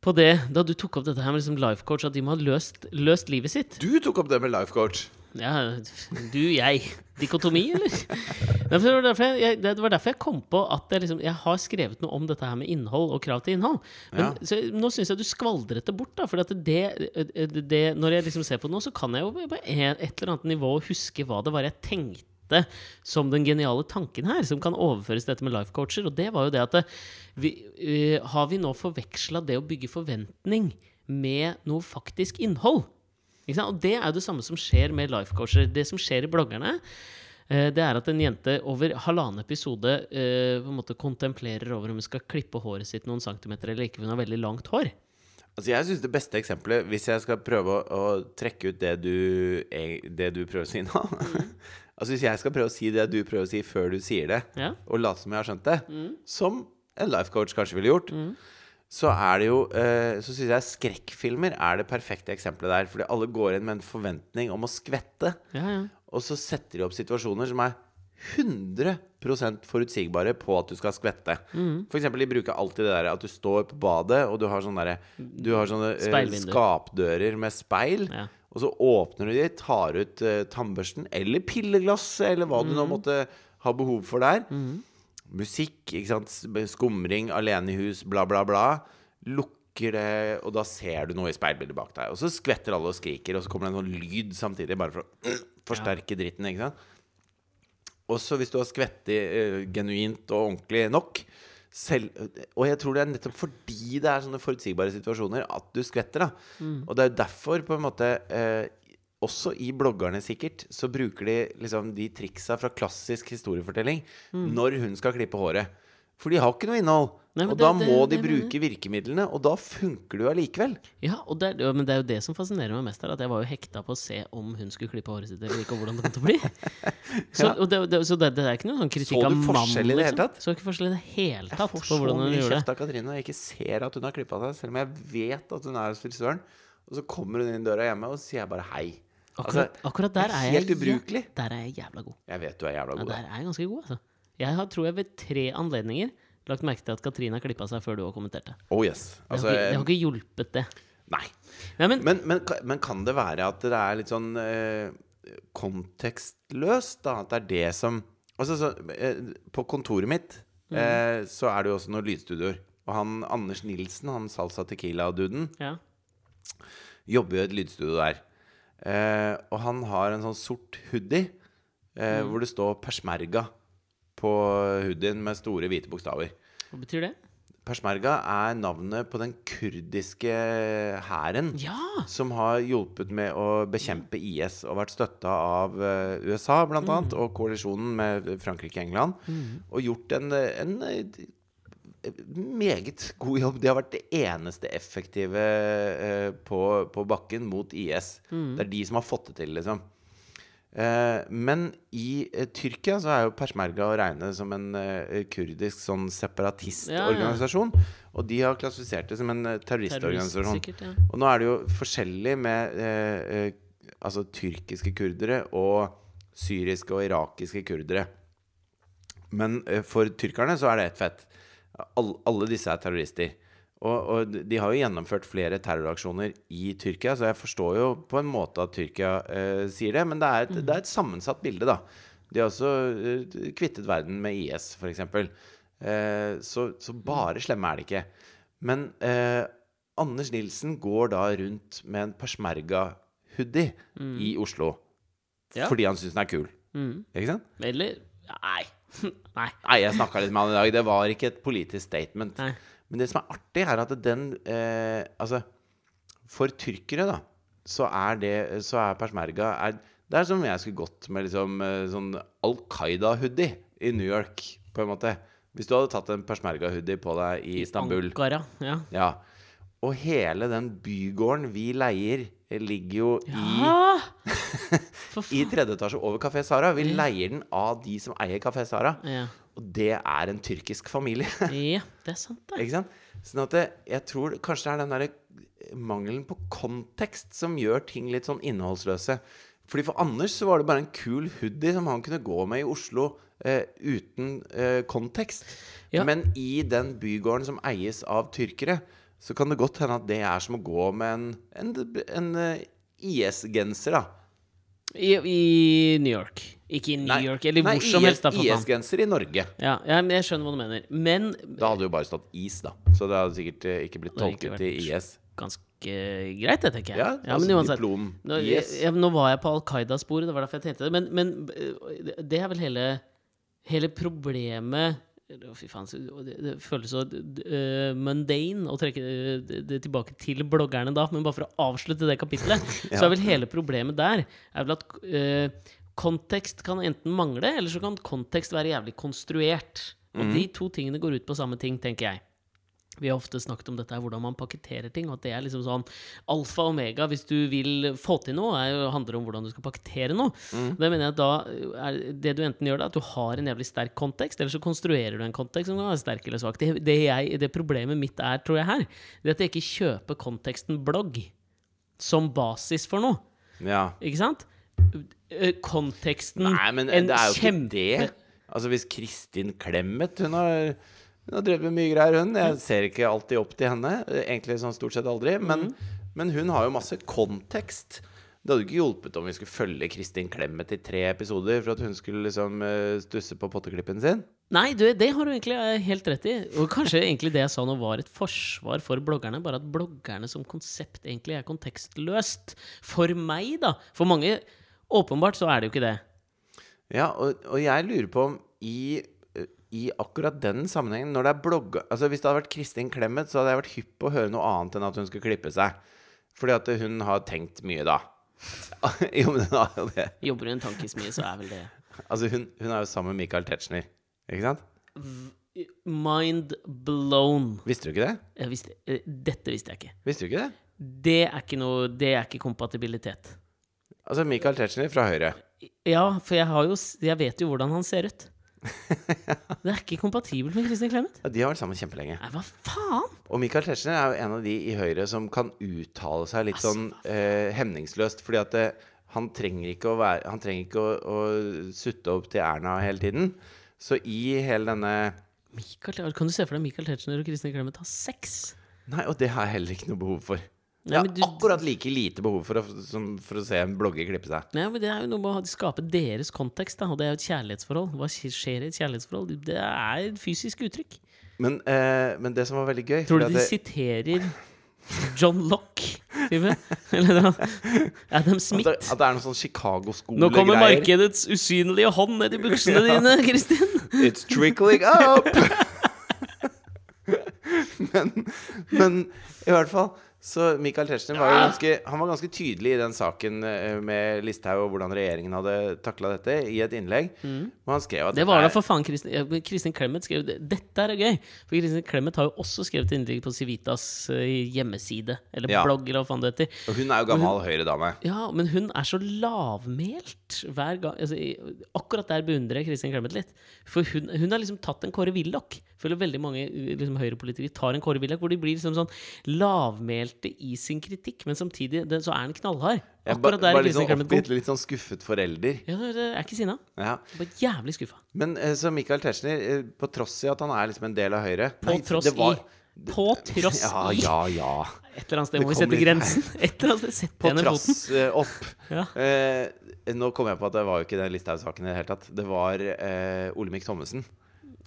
A: på det da du tok opp dette her med liksom life coach, at de må ha løst, løst livet sitt.
B: Du tok opp det med life coach.
A: Ja, du, jeg. Dikotomi, eller? Derfor, det var derfor jeg- jeg, det var derfor jeg kom på at jeg, liksom, jeg har skrevet noe om dette her med innhold og krav til innhold. Men
B: Ja.
A: så, jeg- nå syns jeg du skvaldret det bort. da For at det, det, det, når jeg liksom ser på det nå, så kan jeg jo på et et eller annet nivå huske hva det var jeg tenkte som den geniale tanken her, som kan overføres til dette med life coacher. Og det var jo det at det, vi, eh, Har vi nå forveksla det å bygge forventning med noe faktisk innhold? Ikke sant? Og det er jo det samme som skjer med lifecoacher. Det som skjer i bloggerne, eh, det er at en jente over halvannen episode eh, på en måte kontemplerer over om hun skal klippe håret sitt noen centimeter eller ikke. for Hun har veldig langt hår.
B: Altså jeg synes det beste eksempelet, hvis jeg skal prøve å, å trekke ut det du, eg- det du prøver å si nå Altså hvis jeg skal prøve å si det du prøver å si før du sier det,
A: Ja.
B: og late som jeg har skjønt det, som en life coach kanskje ville gjort, så er det jo eh, Så syns jeg skrekkfilmer er det perfekte eksempelet der. Fordi alle går inn med en forventning om å skvette,
A: Ja, ja.
B: og så setter de opp situasjoner som er 100 forutsigbare på at du skal skvette. For eksempel, de bruker alltid det der at du står på badet, og du har sånne, derre- du har sånne eh,
A: Speilvinduer.
B: skapdører med speil.
A: Ja.
B: Og så åpner du de, tar ut eh, tannbørsten eller pilleglasset, eller hva du nå måtte ha behov for der. Musikk, ikke sant? s- skumring, alene i hus, bla, bla, bla. Lukker det, og da ser du noe i speilbildet bak deg. Og så skvetter alle og skriker, og så kommer det en sånn lyd samtidig, bare for å forsterke dritten. ikke sant? Også hvis du har skvettet eh, genuint og ordentlig nok. Selv, og jeg tror det er nettopp fordi det er sånne forutsigbare situasjoner at du skvetter. da
A: Mm.
B: Og det er derfor, på en måte eh, Også i bloggerne, sikkert, så bruker de liksom de triksa fra klassisk historiefortelling når hun skal klippe håret. For de har ikke noe innhold.
A: Mm. Nei, men
B: og
A: det-
B: da
A: det-
B: må de
A: det mener
B: bruke virkemidlene, og da funker det jo allikevel.
A: Ja, og det, er- ja, men det er jo det som fascinerer meg mest her, at jeg var jo hekta på å se om hun skulle klippe håret sitt eller ikke, og hvordan det kom til å bli. Så, og det, det, så det, det er ikke noen sånn kritikk
B: Så du
A: av mannen,
B: forskjell i det hele
A: liksom.
B: tatt?
A: Så ikke forskjell i det hele
B: Jeg
A: tatt
B: får
A: på
B: så
A: hvordan hun
B: mye
A: gjorde det.
B: kjeft av Katrine når jeg ikke ser at hun har klippa seg, selv om jeg vet at hun er hos frisøren. Og så kommer hun inn døra hjemme, og så sier jeg bare hei. Altså,
A: Akkurat, akkurat der er jeg
B: helt ubrukelig.
A: Der er jeg jævla god.
B: Jeg vet du er jævla
A: Ja,
B: god.
A: der er jeg ganske god, altså. Jeg har, tror jeg ved tre anledninger lagt merke til at Katrine har klippa seg før du har kommentert det.
B: da. Oh yes.
A: Det
B: Altså,
A: har, ikke, det har ikke hjulpet, det.
B: nei.
A: Nei, men,
B: Men, men, ka- men kan det være at det er litt sånn eh, kontekstløst, da? At det er det som Altså, så, eh, på kontoret mitt
A: Mm.
B: eh, så er det jo også noen lydstudioer. Og han Anders Nilsen, han Salsa Tequila-duden,
A: ja.
B: jobber jo i et lydstudio der. Eh, og han har en sånn sort hoodie eh, hvor det står 'Persmerga' på hoodien med store, hvite bokstaver.
A: Hva betyr det?
B: Persmerga er navnet på den kurdiske hæren
A: Ja!
B: som har hjulpet med å bekjempe IS og vært støtta av eh, USA bl.a. annet og koalisjonen med Frankrike og England, og gjort en, eh, en eh, meget god jobb. De har vært det eneste effektive eh, på, på bakken mot IS. Det er de som har fått det til, liksom. Eh, Men i eh, Tyrkia så er jo persmerga å regne som en eh, kurdisk sånn separatistorganisasjon. Og de har klassifisert det som en eh,
A: Terrorist,
B: terroristorganisasjon.
A: sikkert. Ja.
B: Og nå er det jo forskjellig med eh, eh, altså tyrkiske kurdere og syriske og irakiske kurdere. Men eh, for tyrkerne så er det ett fett. All, alle disse er terrorister. Og, og de har jo gjennomført flere terroraksjoner i Tyrkia, så jeg forstår jo på en måte at Tyrkia eh, sier det. Men det er, et, det er et sammensatt bilde, da. De har også eh, kvittet verden med IS, f.eks. Eh, så, så bare slemme er det ikke. Men eh, Anders Nilsen går da rundt med en persmerga-hoodie i Oslo
A: Ja.
B: fordi han syns den er kul.
A: Mm.
B: Ikke sant?
A: Eller Nei. Nei.
B: Nei, jeg snakka litt med han i dag. Det var ikke et politisk statement.
A: Nei.
B: Men det som er artig, er at den eh, Altså, for tyrkere, da, så er det Så er persmerga er, Det er som om jeg skulle gått med liksom eh, sånn Al Qaida-hoodie i New York, på en måte. Hvis du hadde tatt en persmerga-hoodie på deg i Istanbul.
A: Ankara. Ja.
B: Ja. Og hele den bygården vi leier, eh, ligger jo
A: Ah! For
B: i, i
A: faen.
B: tredje etasje over Kafé Sara. Vi leier den av de som eier Kafé Sara.
A: Ja.
B: Og det er en tyrkisk familie.
A: ja, det er sant, det.
B: Ikke sant? Sånn at det, jeg tror kanskje det er den derre mangelen på kontekst som gjør ting litt sånn innholdsløse. Fordi For Anders så var det bare en kul hoodie som han kunne gå med i Oslo eh, uten eh, kontekst.
A: Ja.
B: Men i den bygården som eies av tyrkere, så kan det godt hende at det er som å gå med en, en, en eh, IS-genser, da.
A: I, I New York. Ikke i New
B: Nei,
A: York, eller
B: nei,
A: hvor som
B: IS
A: helst, da, for faen.
B: IS-genser i Norge.
A: Ja, ja, men jeg skjønner hva du mener. Men
B: Da hadde jo bare stått is, da. Så det hadde sikkert eh, ikke blitt
A: hadde ikke
B: tolket til
A: vært-
B: IS.
A: ganske greit, det, tenker jeg.
B: Ja, altså diplom.
A: Nå,
B: IS.
A: jeg, nå var jeg på Al Qaida-sporet, det var derfor jeg tenkte det. Men, men eh, det er vel hele, hele problemet Å, Fy faen, så- det, det føles så eh, mundane å trekke eh, det, det tilbake til bloggerne da, men bare for å avslutte det kapitlet, så er vel hele problemet der er vel at eh, kontekst kan enten mangle, eller så kan kontekst være jævlig konstruert. Og de to tingene går ut på samme ting, tenker jeg. Vi har ofte snakket om dette her, hvordan man pakketterer ting. Og at det er liksom sånn alfa og omega hvis du vil få til noe, er, jo- handler om hvordan du skal pakkettere noe.
B: Mm.
A: Det mener jeg at da er det du enten gjør, da, at du har en jævlig sterk kontekst, eller så konstruerer du en kontekst som kan være sterk eller svak. Det, det, jeg, det problemet mitt er, tror jeg her, det er at jeg ikke kjøper konteksten blogg som basis for noe.
B: Ja.
A: Ikke sant? Eh, Konteksten
B: Nei, men eh,
A: en
B: det er jo
A: kjempe-
B: ikke det. Altså Hvis Kristin Clemet Hun har, hun har drevet med mye greier, hun.
A: Mm.
B: Jeg ser ikke alltid opp til henne. Egentlig sånn stort sett aldri.
A: Mm.
B: Men, men hun har jo masse kontekst. Det hadde jo ikke hjulpet om vi skulle følge Kristin Clemet i tre episoder for at hun skulle liksom eh, stusse på potteklippen sin.
A: Nei, du, det har du egentlig eh, helt rett i. Og kanskje egentlig det jeg sa nå, var et forsvar for bloggerne. Bare at bloggerne som konsept egentlig er kontekstløst. For meg, da. For mange åpenbart så er det jo ikke det.
B: Ja, og, og jeg lurer på om i, i akkurat den sammenhengen Når det er blogg... Altså Hvis det hadde vært Kristin Clemet, så hadde jeg vært hypp på å høre noe annet enn at hun skulle klippe seg. Fordi at hun har tenkt mye da. jo, men hun har jo det.
A: Jobber du en tankesmie, så er vel det
B: Altså, hun, hun er jo sammen med Michael Tetzschner. Ikke sant?
A: Mind blown.
B: Visste du ikke det?
A: Jeg visste, eh, dette visste jeg ikke.
B: Visste du ikke det?
A: Det er ikke noe Det er ikke kompatibilitet.
B: Altså Michael Tetzschner fra Høyre.
A: Ja, for jeg, har jo, s- jeg vet jo hvordan han ser ut. Det er ikke kompatibelt med Kristin Clemet.
B: Ja, de har vært sammen kjempelenge.
A: Nei, hva faen?
B: Og Michael Tetzschner er jo en av de i Høyre som kan uttale seg litt
A: Altså,
B: sånn eh, hemningsløst. Fordi at eh, han trenger ikke, å, være, han trenger ikke å, å sutte opp til Erna hele tiden. Så i hele denne
A: Michael, kan du se for deg Michael Tetzschner og Kristin Clemet har sex?
B: Nei, og det har jeg heller ikke noe behov for. Jeg
A: Nei,
B: har
A: men du-
B: akkurat like lite behov for å, som for å se en blogger klippe seg.
A: Nei, men Det er jo noe med å ha- skape deres kontekst, da. og det er jo et kjærlighetsforhold. Hva skj- skjer i et kjærlighetsforhold? Det er et fysisk uttrykk.
B: Men, eh, men det som var veldig gøy
A: Tror
B: fordi
A: du de
B: at det-
A: siterer John Locke? Type? Eller da, Adam
B: at
A: Smith?
B: det, at det er noen sånn Chicago-skolegreier.
A: Nå kommer markedets usynlige hånd ned i buksene dine, Kristin!
B: It's trickling up! men, men i hvert fall så Michael Tetzschner var jo ganske, han var ganske tydelig i den saken eh, med Listhaug og hvordan regjeringen hadde takla dette, i et innlegg. Og han skrev at
A: Mm. Det var da
B: dette
A: for faen Kristin, ja, men Kristin Clemet skrev det. Dette er gøy! For Kristin Clemet har jo også skrevet innlegg på Civitas eh, hjemmeside, eller
B: Ja.
A: blogg, eller hva faen det heter.
B: er- og Hun er jo gammel Høyre-dame.
A: Ja, men hun er så lavmælt hver gang altså, i- Akkurat der beundrer jeg Kristin Clemet litt. For hun, hun har liksom tatt en Kåre Willoch. Jeg Føler veldig mange eh, liksom, høyrepolitikere tar en Kåre Willoch, hvor de blir liksom sånn lavmælte i sin kritikk, men samtidig den, så er den knallhard.
B: Jeg ba-
A: Akkurat der
B: var
A: er Kristin
B: liksom
A: Clemet god.
B: oppgitt, litt sånn skuffet forelder.
A: Ja, det- det er ikke sinna.
B: Ja.
A: Bare jævlig skuffa.
B: Men eh, så Michael Tetzschner, eh, på tross i at han er liksom en del av Høyre
A: På
B: Nei,
A: tross
B: det var-
A: i. På tross
B: Ja,
A: i.
B: ja, ja.
A: Et eller annet sted må vi
B: kom
A: sette
B: litt-
A: grensen. Et eller annet sted
B: På
A: setter jeg ned foten.
B: trass eh, opp.
A: Ja.
B: Eh, nå kom jeg på at det var jo ikke den Listhaug-saken i det hele tatt. Det var eh, Olemic Thommessen.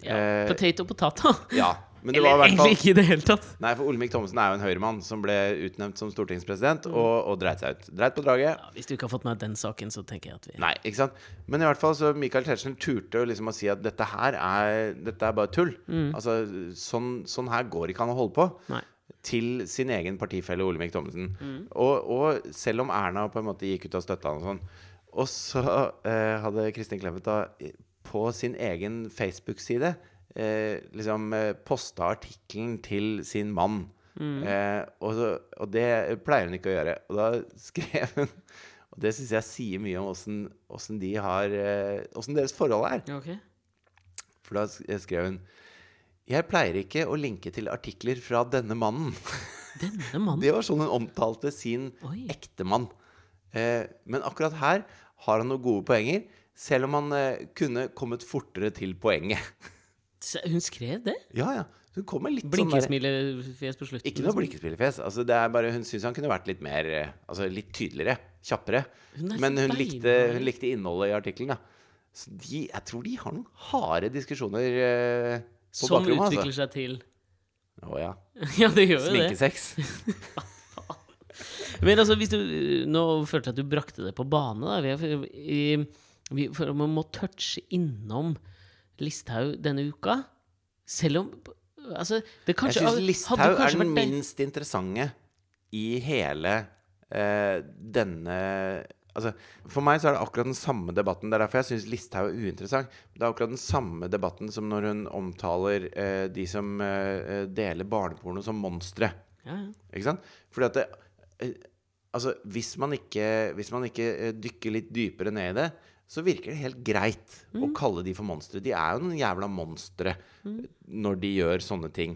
A: Ja.
B: Eh,
A: Potato potata.
B: Ja, men det var
A: Eller
B: i hvert fall
A: egentlig ikke i det hele tatt.
B: Nei, for Olemic Thommessen er jo en høyremann som ble utnevnt som stortingspresident
A: Mm.
B: og, og dreit seg ut. Dreit på draget.
A: Ja, hvis du ikke har fått med deg den saken, så tenker jeg at vi
B: Nei, ikke sant? Men i hvert fall så Michael Tetzschner turte jo liksom å si at dette her er, dette er bare tull.
A: Mm.
B: Altså, sånn, sånn her går ikke an å holde på.
A: Nei.
B: til sin egen partifelle Olemic Thommessen. Og, og selv om Erna på en måte gikk ut og støtta han og sånn, og så eh, hadde Kristin Clemet da eh, på sin egen Facebook-side eh, liksom eh, posta artikkelen til sin mann. Eh, og, så, og det pleier hun ikke å gjøre. Og da skrev hun Og det syns jeg sier mye om åssen- åssen de har eh, Åssen deres forhold er.
A: Ja, ok.
B: For da sk- skrev hun Jeg pleier ikke å linke til artikler fra denne mannen.
A: Denne mannen
B: Det var sånn hun omtalte sin
A: Oi.
B: ektemann. Eh, men akkurat her har han noen gode poenger, selv om han eh, kunne kommet fortere til poenget.
A: Se, Hun skrev det?
B: Ja, ja. Hun kommer litt sånn der-
A: Blinkesmilefjes på slutten.
B: Ikke noe blikkespillerfjes. Altså, det er bare, hun syns han kunne vært litt mer eh, Altså litt tydeligere. Kjappere.
A: Hun er
B: Men
A: så
B: hun likte,
A: beinhard.
B: hun likte innholdet i artikkelen, da. Så de, jeg tror de har noen harde diskusjoner eh, på
A: Som
B: bakrommet,
A: utvikler
B: altså.
A: seg til
B: Å ja.
A: Ja, det gjør jo det.
B: Sminkesex.
A: Men altså, hvis du Nå følte jeg at du brakte det på bane, da. Vi, er, i- vi for man må touche innom Listhaug denne uka. Selv om Altså, det
B: Jeg
A: kanskje
B: syns
A: hadde
B: Listhaug er
A: kanskje
B: den
A: vært det-
B: minst interessante i hele eh, denne Altså, for meg så er det akkurat den samme debatten. Det er derfor jeg syns Listhaug er uinteressant. Det er akkurat den samme debatten som når hun omtaler eh, de som eh, deler barneporno som monstre.
A: Ja, ja.
B: Ikke sant? Fordi at det, eh, altså, hvis, man ikke, hvis man ikke eh, dykker litt dypere ned i det, så virker det helt greit å kalle de for monstre. De er jo noen jævla monstre når de gjør sånne ting.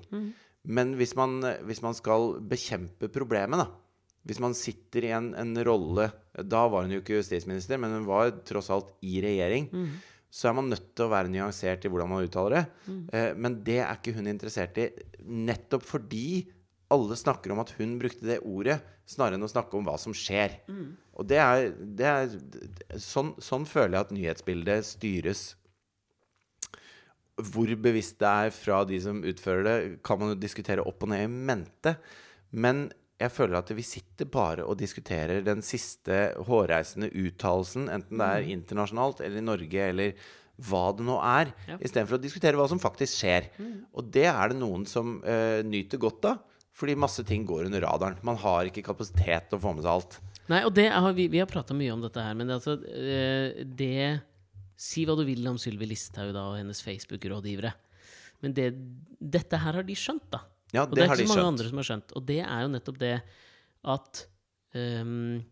B: Men hvis man, hvis man skal bekjempe problemet, da Hvis man sitter i en, en rolle Da var hun jo ikke justisminister, men hun var tross alt i regjering. Så er man nødt til å være nyansert i hvordan man uttaler det. Eh, men det er ikke hun interessert i. Nettopp fordi alle snakker om at hun brukte det ordet, snarere enn å snakke om hva som skjer. Og det er, det er sånn, sånn føler jeg at nyhetsbildet styres. Hvor bevisst det er fra de som utfører det, kan man jo diskutere opp og ned i mente. Men jeg føler at vi sitter bare og diskuterer den siste hårreisende uttalelsen, enten det
A: Mm.
B: er internasjonalt eller i Norge eller hva det nå er,
A: Ja. Mm.
B: istedenfor å diskutere hva som faktisk skjer. Og det er det noen som eh, nyter godt av, fordi masse ting går under radaren. Man har ikke kapasitet til å få med seg alt.
A: Nei, og det har vi, vi har prata mye om dette her, men det, er altså, eh, det Si hva du vil om Sylvi Listhaug da, og hennes Facebook-rådgivere. Men det, dette her har de skjønt, da.
B: Ja,
A: Og
B: det,
A: det, er
B: har de
A: ikke så mange
B: skjønt.
A: andre som har skjønt. Og det er jo nettopp det at ehm,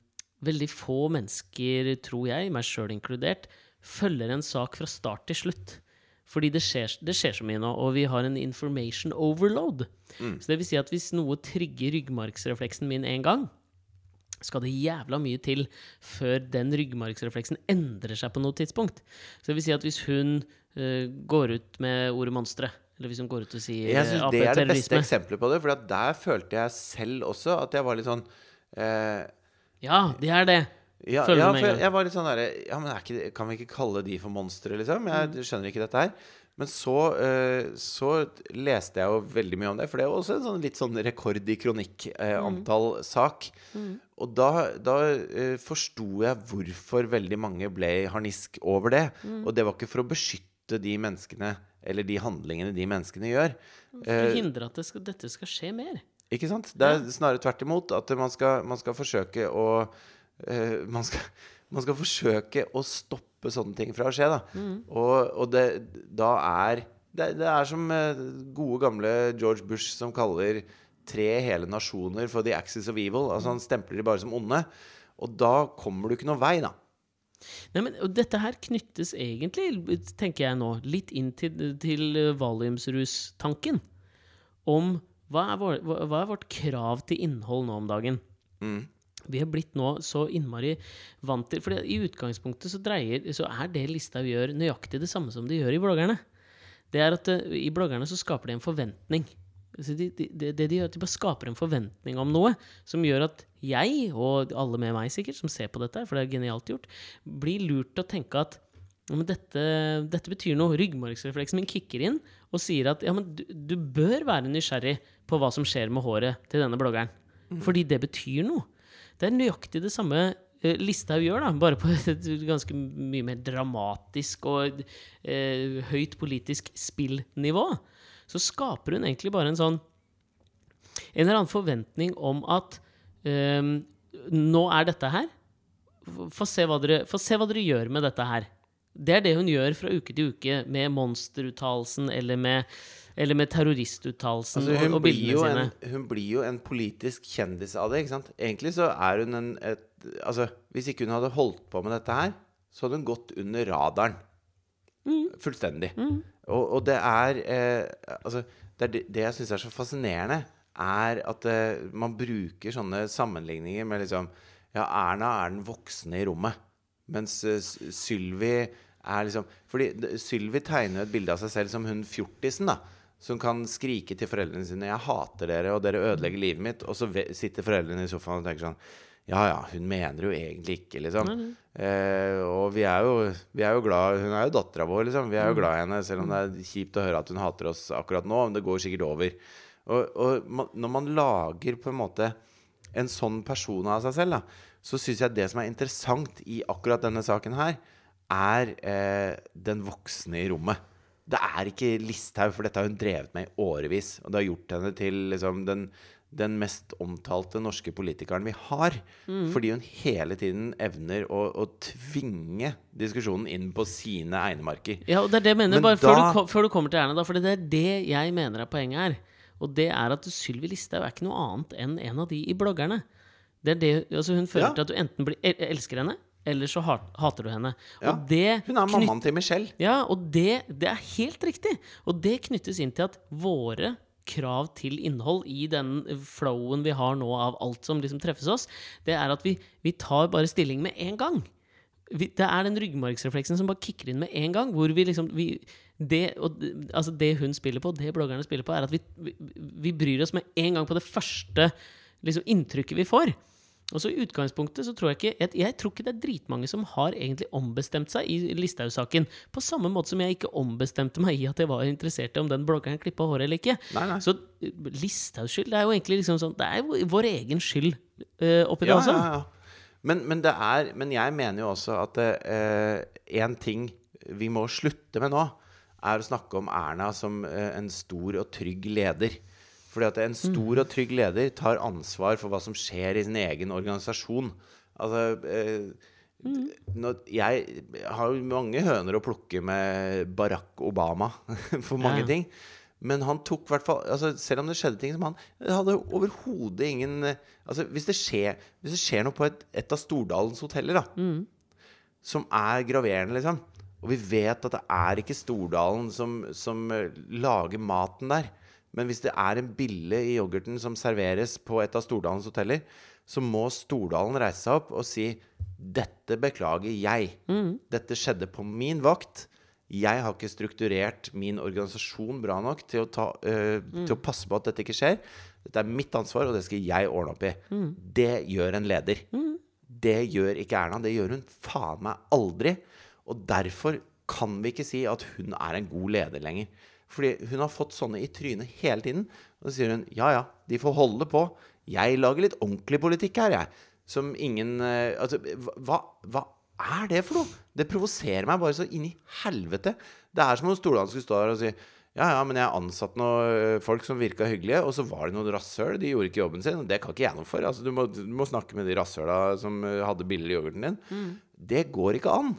A: veldig få mennesker, tror jeg, meg sjøl inkludert, følger en sak fra start til slutt. Fordi det skjer, det skjer så mye nå, og vi har en information overload.
B: Mm.
A: Så det vil si at hvis noe trigger ryggmargsrefleksen min én gang, skal det jævla mye til før den ryggmargsrefleksen endrer seg på noe tidspunkt. Så det vil si at hvis hun eh, går ut med ordet 'monstre', eller hvis hun går ut og sier
B: Jeg synes
A: eh,
B: det er det beste
A: AP-terrorisme
B: eksempelet på det, for at der følte jeg selv også at jeg var litt sånn eh,
A: Ja, det er det.
B: Ja,
A: Følger
B: ja
A: med en
B: for jeg,
A: gang.
B: jeg var litt sånn derre Ja, men er ikke, det- kan vi ikke kalle de for monstre, liksom?
A: Mm.
B: Jeg skjønner ikke dette her. Men så, eh, så leste jeg jo veldig mye om det, for det er jo også en sånn litt sånn rekord i kronikkantall eh, antall
A: Mm.
B: sak. Og da, da eh, forsto jeg hvorfor veldig mange ble i harnisk over det.
A: Mm.
B: Og det var ikke for å beskytte de menneskene eller de handlingene de menneskene gjør.
A: For å hindre at det skal, dette skal skje mer.
B: Ikke sant? Det er snarere tvert imot. At man skal, man skal forsøke å eh, man, skal, man skal forsøke å stoppe sånne ting fra å skje, da. Og, og det, da er det, det er som eh, gode, gamle George Bush som kaller tre hele nasjoner for the axis of evil. Altså han stempler de bare som onde. Og da kommer du ikke noen vei, da.
A: Nei, men, og dette her knyttes egentlig, tenker jeg nå, litt inn til, til eh, valiumsrustanken. Om hva er, vår, hva hva er vårt krav til innhold nå om dagen? Vi er blitt nå så innmari vant til For i utgangspunktet så, dreier, så er det Listhaug gjør, nøyaktig det samme som de gjør i bloggerne. Det er at eh, I bloggerne så skaper de en forventning. Så de, de, det det de gjør, er at de bare skaper en forventning om noe som gjør at jeg, og alle med meg sikkert, som ser på dette, her, for det er genialt gjort, blir lurt til å tenke at ja, men dette, dette betyr noe. Ryggmargsrefleksen min kicker inn og sier at ja, men du, du bør være nysgjerrig på hva som skjer med håret til denne bloggeren. Fordi det betyr noe. Det er nøyaktig det samme eh, Listhaug gjør, da, bare på et ganske mye mer dramatisk og eh, høyt politisk spillnivå. Så skaper hun egentlig bare en sånn En eller annen forventning om at eh, nå er dette her. Få se, hva dere, få se hva dere gjør med dette her. Det er det hun gjør fra uke til uke med monsteruttalelsen eller med, eller med terroristuttalelsen
B: Altså, hun,
A: og, og
B: blir
A: bildene
B: jo
A: sine.
B: en, hun blir jo en politisk kjendis av det. ikke sant? Egentlig så er hun en et, Altså, hvis ikke hun hadde holdt på med dette her, så hadde hun gått under radaren.
A: Mm.
B: Fullstendig. Og, og det er eh, Altså, det, er det, det jeg syns er så fascinerende, er at eh, man bruker sånne sammenligninger med liksom Ja, Erna er den voksne i rommet, mens eh, S- Sylvi er liksom Fordi d- Sylvi tegner jo et bilde av seg selv som hun fjortisen, da. Som kan skrike til foreldrene sine 'Jeg hater dere, og dere ødelegger livet mitt'. Og så ve- sitter foreldrene i sofaen og tenker sånn Ja ja, hun mener jo egentlig ikke, liksom. Eh, og vi er, jo, vi er jo glad Hun er jo dattera vår, liksom. Vi er jo glad i henne, selv om det er kjipt å høre at hun hater oss akkurat nå. Men det går sikkert over. Og, og man, når man lager på en måte en sånn person av seg selv, da, så syns jeg det som er interessant i akkurat denne saken her, er eh, den voksne i rommet. Det er ikke Listhaug, for dette har hun drevet med i årevis. Og det har gjort henne til liksom, den, den mest omtalte norske politikeren vi har. Fordi hun hele tiden evner å, å tvinge diskusjonen inn på sine egnemarker.
A: Ja, og det er det jeg mener,
B: Men
A: bare før,
B: da-
A: du, ko- før du kommer til Erna, da, for det er det jeg mener er poenget her. Og det er at Sylvi Listhaug er ikke noe annet enn en av de i bloggerne. Det er det, altså hun føler
B: Ja.
A: til at du enten blir, el- elsker henne, eller så hat, hater du henne.
B: Ja.
A: Og det
B: Hun er
A: knytter-
B: mammaen til Michelle.
A: Ja, og det, det er helt riktig. Og det knyttes inn til at våre krav til innhold i den flowen vi har nå av alt som liksom treffes oss, det er at vi, vi tar bare stilling med en gang. Vi, det er den ryggmargsrefleksen som bare kicker inn med en gang. Hvor vi liksom vi, det, og, d- altså det hun spiller på, det bloggerne spiller på, er at vi, vi, vi bryr oss med en gang på det første liksom, inntrykket vi får. Og så I utgangspunktet så tror jeg ikke jeg, jeg tror ikke det er dritmange som har egentlig ombestemt seg i Listhaug-saken. På samme måte som jeg ikke ombestemte meg i at jeg var interessert i om den bloggeren klippa håret eller ikke.
B: Nei, nei.
A: Så eh, Listhaugs skyld det er jo egentlig liksom sånn Det er jo vår egen skyld eh, oppi det også.
B: ja, ja. Men, men, det er, men jeg mener jo også at én ting vi må slutte med nå, er å snakke om Erna som eh, en stor og trygg leder. Fordi at en stor og trygg leder tar ansvar for hva som skjer i sin egen organisasjon. Altså eh, når, jeg har jo mange høner å plukke med Barack Obama for mange
A: Ja.
B: ting. Men han tok hvert fall altså, Selv om det skjedde ting som han det hadde overhodet ingen eh, altså, hvis, det skjer, hvis det skjer noe på et, et av Stordalens hoteller, da, som er graverende, liksom Og vi vet at det er ikke Stordalen som, som eh, lager maten der. Men hvis det er en bille i yoghurten som serveres på et av Stordalens hoteller, så må Stordalen reise seg opp og si dette beklager jeg. Dette skjedde på min vakt. Jeg har ikke strukturert min organisasjon bra nok til å, ta, eh, til å passe på at dette ikke skjer. Dette er mitt ansvar, og det skal jeg ordne opp i. Det gjør en leder. Det gjør ikke Erna. Det gjør hun faen meg aldri. Og derfor kan vi ikke si at hun er en god leder lenger. Fordi hun har fått sånne i trynet hele tiden. Og så sier hun ja ja, de får holde på. Jeg lager litt ordentlig politikk her, jeg. Som ingen eh, Altså, hva, hva er det for noe? Det provoserer meg bare så inn i helvete. Det er som om Stordalen skulle stå der og si ja, ja, men jeg ansatte noen ø, eh, folk som virka hyggelige, og så var det noen rasshøl. De gjorde ikke jobben sin, og det kan ikke jeg noe for. Altså, du, må, du må snakke med de rasshøla som ø, hadde billig yoghurten din. Det går ikke an.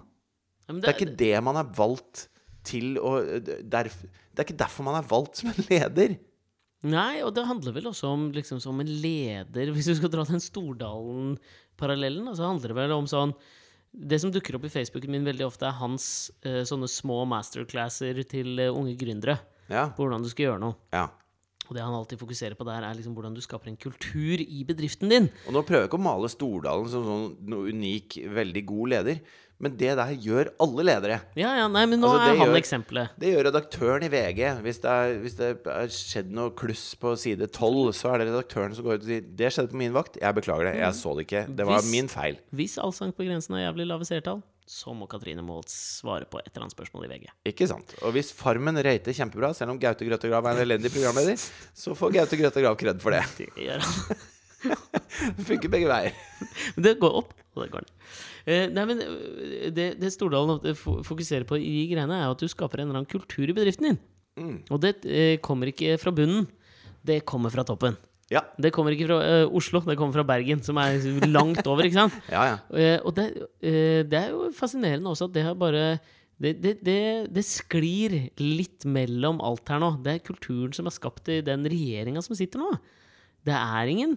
A: Ja, men
B: Det er ikke det man er valgt til å ø, derf, Det er ikke derfor man er valgt som en leder.
A: Nei, og det handler vel også om liksom, som en leder Hvis du skal dra den Stordalen-parallellen, da, så handler det vel om sånn Det som dukker opp i Facebooken min veldig ofte, er hans eh, sånne små masterclasser til eh, unge gründere.
B: Ja.
A: På hvordan du skal gjøre noe.
B: ja.
A: Og det han alltid fokuserer på der, er liksom hvordan du skaper en kultur i bedriften din.
B: Og nå prøver jeg ikke å male Stordalen som sånn noe unik, veldig god leder, men det der gjør alle ledere.
A: Ja, ja, nei, men nå
B: Altså, det
A: er han
B: gjør-
A: eksempelet.
B: Det gjør redaktøren i VG. Hvis det, er, hvis det er skjedd noe kluss på side 12, så er det redaktøren som går ut og sier 'Det skjedde på min vakt. Jeg beklager det. Jeg så det ikke. Det var
A: Hvis-
B: min feil'.
A: Hvis Allsang på grensen har jævlig lave seertall, så må Katrine Moholt svare på et eller annet spørsmål i VG.
B: Ikke sant? Og hvis Farmen rater kjempebra, selv om Gaute Grøtte Grav er en elendig programleder, så får Gaute Grøtte Grav kred for det.
A: Det gjør han.
B: Det funker begge veier.
A: Men det går opp, og det går ned. Eh, nei, men eh, det, det Stordalen ofte fo- fokuserer på i de greiene, er jo at du skaper en eller annen kultur i bedriften din. Og det eh, kommer ikke fra bunnen. Det kommer fra toppen.
B: Ja.
A: Det kommer ikke fra eh, Oslo, det kommer fra Bergen, som er langt over, ikke sant?
B: Ja, ja.
A: Eh, og det, eh, det er jo fascinerende også at det har bare det, det, det, det sklir litt mellom alt her nå. Det er kulturen som er skapt i den regjeringa som sitter nå. Det er ingen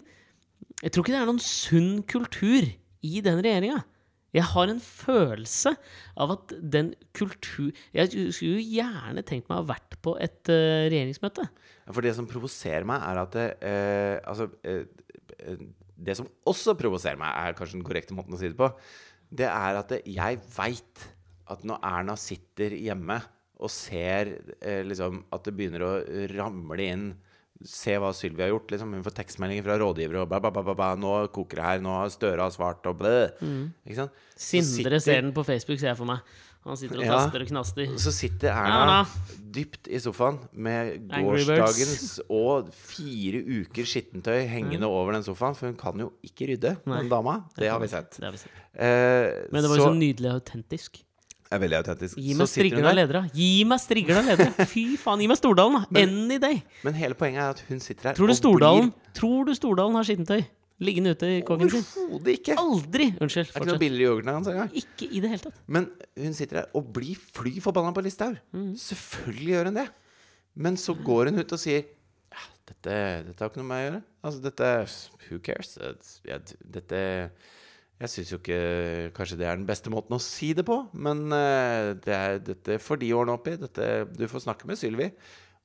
A: Jeg tror ikke det er noen sunn kultur i den regjeringa. Jeg har en følelse av at den kultur Jeg skulle jo gjerne tenkt meg å ha vært på et eh, regjeringsmøte.
B: For det som provoserer meg, er at det, eh, Altså eh, eh, Det som også provoserer meg, er kanskje den korrekte måten å si det på. Det er at det, jeg veit at når Erna sitter hjemme og ser eh, liksom, at det begynner å ramle inn Se hva Sylvi har gjort. Liksom. Hun får tekstmeldinger fra rådgivere og bla, bla, bla, bla, bla. Nå koker det her. Nå har Støre har svart og blæ. Ikke sant? Så
A: Sindre
B: sitter-
A: ser den på Facebook, ser jeg for meg. Han sitter og
B: Ja.
A: taster og knaster.
B: Så sitter
A: Ja,
B: Erna dypt i sofaen med
A: Angry Birds.
B: gårsdagens og fire uker skittentøy hengende over den sofaen, for hun kan jo ikke rydde, den dama. Det har vi sett.
A: Mm. Det har vi sett.
B: Eh,
A: Men det var jo så nydelig og autentisk.
B: er veldig autentisk.
A: Gi
B: Så
A: meg
B: sitter hun
A: strigla
B: der,
A: ledere. Gi meg strigla ledere. Fy faen, gi meg Stordalen, da. Any day.
B: Men hele poenget er at hun sitter her
A: Tror du
B: og
A: Stordalen
B: blir
A: Tror du Stordalen har skittentøy liggende ute i kåken sin?
B: Overhodet ikke!
A: Aldri! Unnskyld.
B: Det er ikke noe
A: Fortsett.
B: billigere yoghurt engang. så engang.
A: Ikke i det hele tatt.
B: Men hun sitter her og blir fly forbanna på Listhaug. Selvfølgelig gjør hun det. Men så går hun ut og sier ja, dette, dette har ikke noe med meg å gjøre. Altså, dette Who cares? Jeg, dette Jeg syns jo ikke kanskje det er den beste måten å si det på, men eh, det er, dette får de ordne opp i. Dette, du får snakke med Sylvi.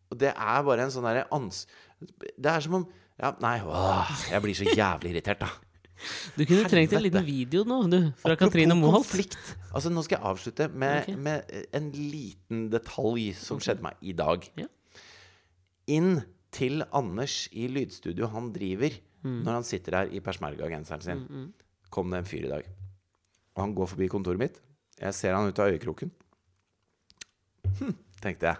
B: Og det er bare en sånn derre ans... Det er som om Ja, nei, åh, jeg blir så jævlig irritert, da.
A: Du kunne trengt en liten
B: Helvete.
A: video nå, du. Fra
B: Apropos
A: Katrine Moholt.
B: konflikt. Altså, nå skal jeg avslutte med,
A: Ok.
B: med en liten detalj som skjedde meg i dag.
A: Ja.
B: Inn til Anders i lydstudio han driver
A: Mm.
B: når han sitter der i persmerga-genseren sin, kom det en fyr i dag. Og han går forbi kontoret mitt. Jeg ser han ut av øyekroken. Hm, tenkte jeg.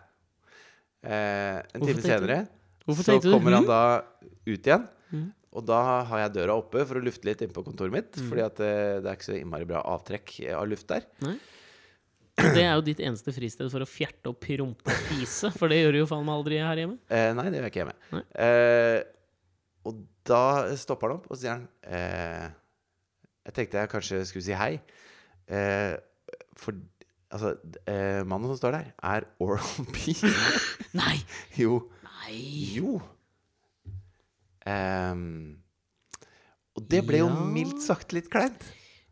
B: Eh,
A: Hvorfor
B: en time
A: tenkte du-
B: senere
A: Hvorfor
B: så
A: tenkte du
B: kommer han
A: «Hm?»
B: da ut igjen.
A: Mhm.
B: Og da har jeg døra oppe for å lufte litt inne på kontoret mitt.
A: Mm.
B: Fordi at eh, det er ikke så innmari bra avtrekk eh, av luft der.
A: Det er jo ditt eneste fristed for å fjerte opp rumpe og fise, for det gjør du jo faen meg aldri her hjemme.
B: Eh, nei, det gjør jeg ikke hjemme.
A: Nei.
B: Eh, og da stopper han opp, og så sier han eh, Jeg tenkte jeg kanskje skulle si hei. Eh, for altså eh, Mannen som står der, er Oral B.
A: Nei!
B: jo.
A: Nei!
B: Jo. Ehm, og det ble jo
A: Ja.
B: mildt sagt litt kleint.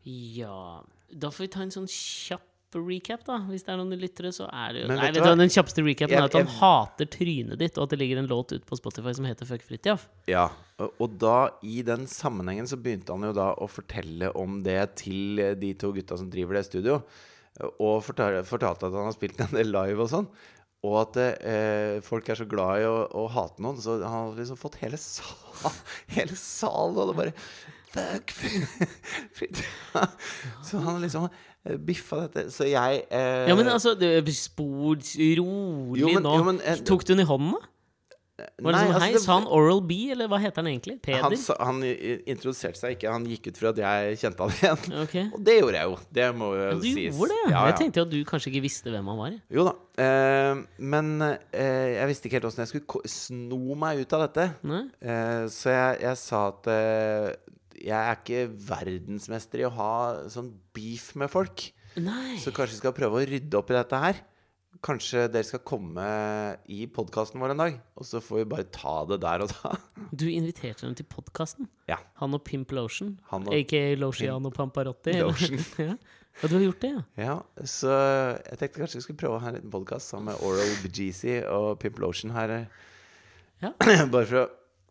A: Ja Da får vi ta en sånn kjapp recap, da. Hvis det er noen lyttere, så er det jo
B: Men
A: Nei,
B: vet
A: vet
B: du
A: du,
B: hva?
A: Den kjappeste recapen
B: Jeg-
A: er at han
B: jeg-
A: hater trynet ditt, og at det ligger en låt ute på Spotify som heter Fuck Fritjof.
B: Ja, og og da i den sammenhengen så begynte han jo da å fortelle om det til eh, de to gutta som driver det studio, eh, og fortal- fortalte at han har spilt en del live og sånn, og at eh, folk er så glad i å, å hate noen, så han har liksom fått hele sal, hele salen, og det bare, fuck, fritt. Så han liksom eh, biffa dette, så jeg... eh,
A: Ja, men altså, det- spor rolig
B: Jo, men-
A: nå.
B: jo, men, eh,
A: Tok du den i hånden, da? Var det
B: nei,
A: sånn,
B: altså,
A: hei,
B: det-
A: Sa han Oral B, eller hva heter han egentlig? Peder?
B: Han, sa- han i- introduserte seg ikke, han gikk ut fra at jeg kjente han igjen.
A: Ok.
B: Og det gjorde jeg jo. Det må jo
A: Ja, Du
B: sies.
A: gjorde det?
B: Ja, ja.
A: Jeg tenkte jo at du kanskje ikke visste hvem han var. jeg.
B: Jo da. Eh, men eh, jeg visste ikke helt åssen jeg skulle ko- sno meg ut av dette.
A: Nei?
B: Eh, så jeg, jeg sa at eh, jeg er ikke verdensmester i å ha sånn beef med folk.
A: Nei.
B: Så kanskje vi skal prøve å rydde opp i dette her. Kanskje dere skal komme i podkasten vår en dag, og så får vi bare ta det der og da.
A: Du inviterte dem til podkasten.
B: Ja.
A: Han og Pimp Lotion.
B: Han og
A: Aka Lociano Pamparotti. eller?
B: Lotion.
A: ja. ja, du har gjort det, ja.
B: Ja, så jeg tenkte kanskje vi skulle prøve å ha en liten podkast sammen med Oral BGC og Pimp Lotion her.
A: Ja.
B: Bare for å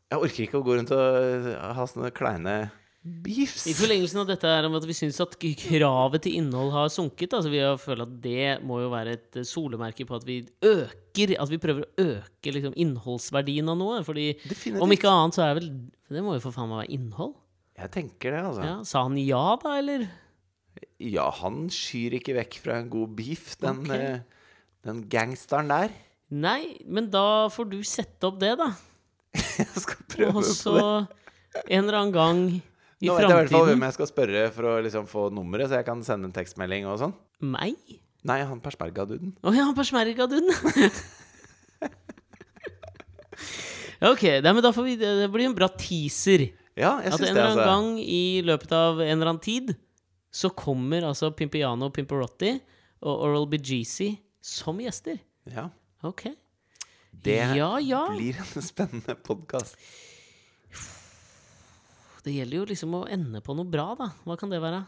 B: Jeg orker ikke å gå rundt og ha sånne kleine beefs.
A: I forlengelsen av dette er om at vi syns at k- kravet til innhold har sunket. Altså vi har følt at det må jo være et eh, solemerke på at vi øker At vi prøver å øke liksom, innholdsverdien av noe. Fordi
B: Definitivt.
A: om ikke annet så er vel Det må jo for faen meg være innhold.
B: Jeg tenker det, altså.
A: Ja, sa han ja, da, eller?
B: Ja. han skyr ikke vekk fra en god beef, den,
A: Ok.
B: eh, den gangsteren der.
A: Nei, men da får du sette opp det, da.
B: Jeg skal prøve
A: Og
B: på
A: så
B: det.
A: en eller annen gang i
B: Nå vet jeg i hvert fall hvem
A: framtiden
B: jeg skal spørre for å liksom få nummeret, så jeg kan sende en tekstmelding og sånn.
A: Meg?
B: Nei, han persperga-duden.
A: Å ja, han persmerka du den? Ja, ok, Nei, men da får vi, det det blir en bra teaser.
B: Ja, jeg
A: At
B: syns
A: en
B: det,
A: eller annen
B: altså.
A: gang i løpet av en eller annen tid så kommer altså Pimpiano og Pimperotti og Oral BGC som gjester.
B: Ja.
A: Ok.
B: Det
A: ja, ja.
B: altså. blir en spennende podkast.
A: Det gjelder jo liksom å ende på noe bra, da. Hva kan det være?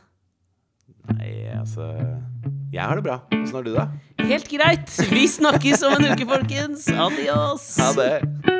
B: Nei, altså Jeg har det bra. Åssen har du det?
A: Helt greit! Vi snakkes om en uke, folkens. Adios!
B: Ha det.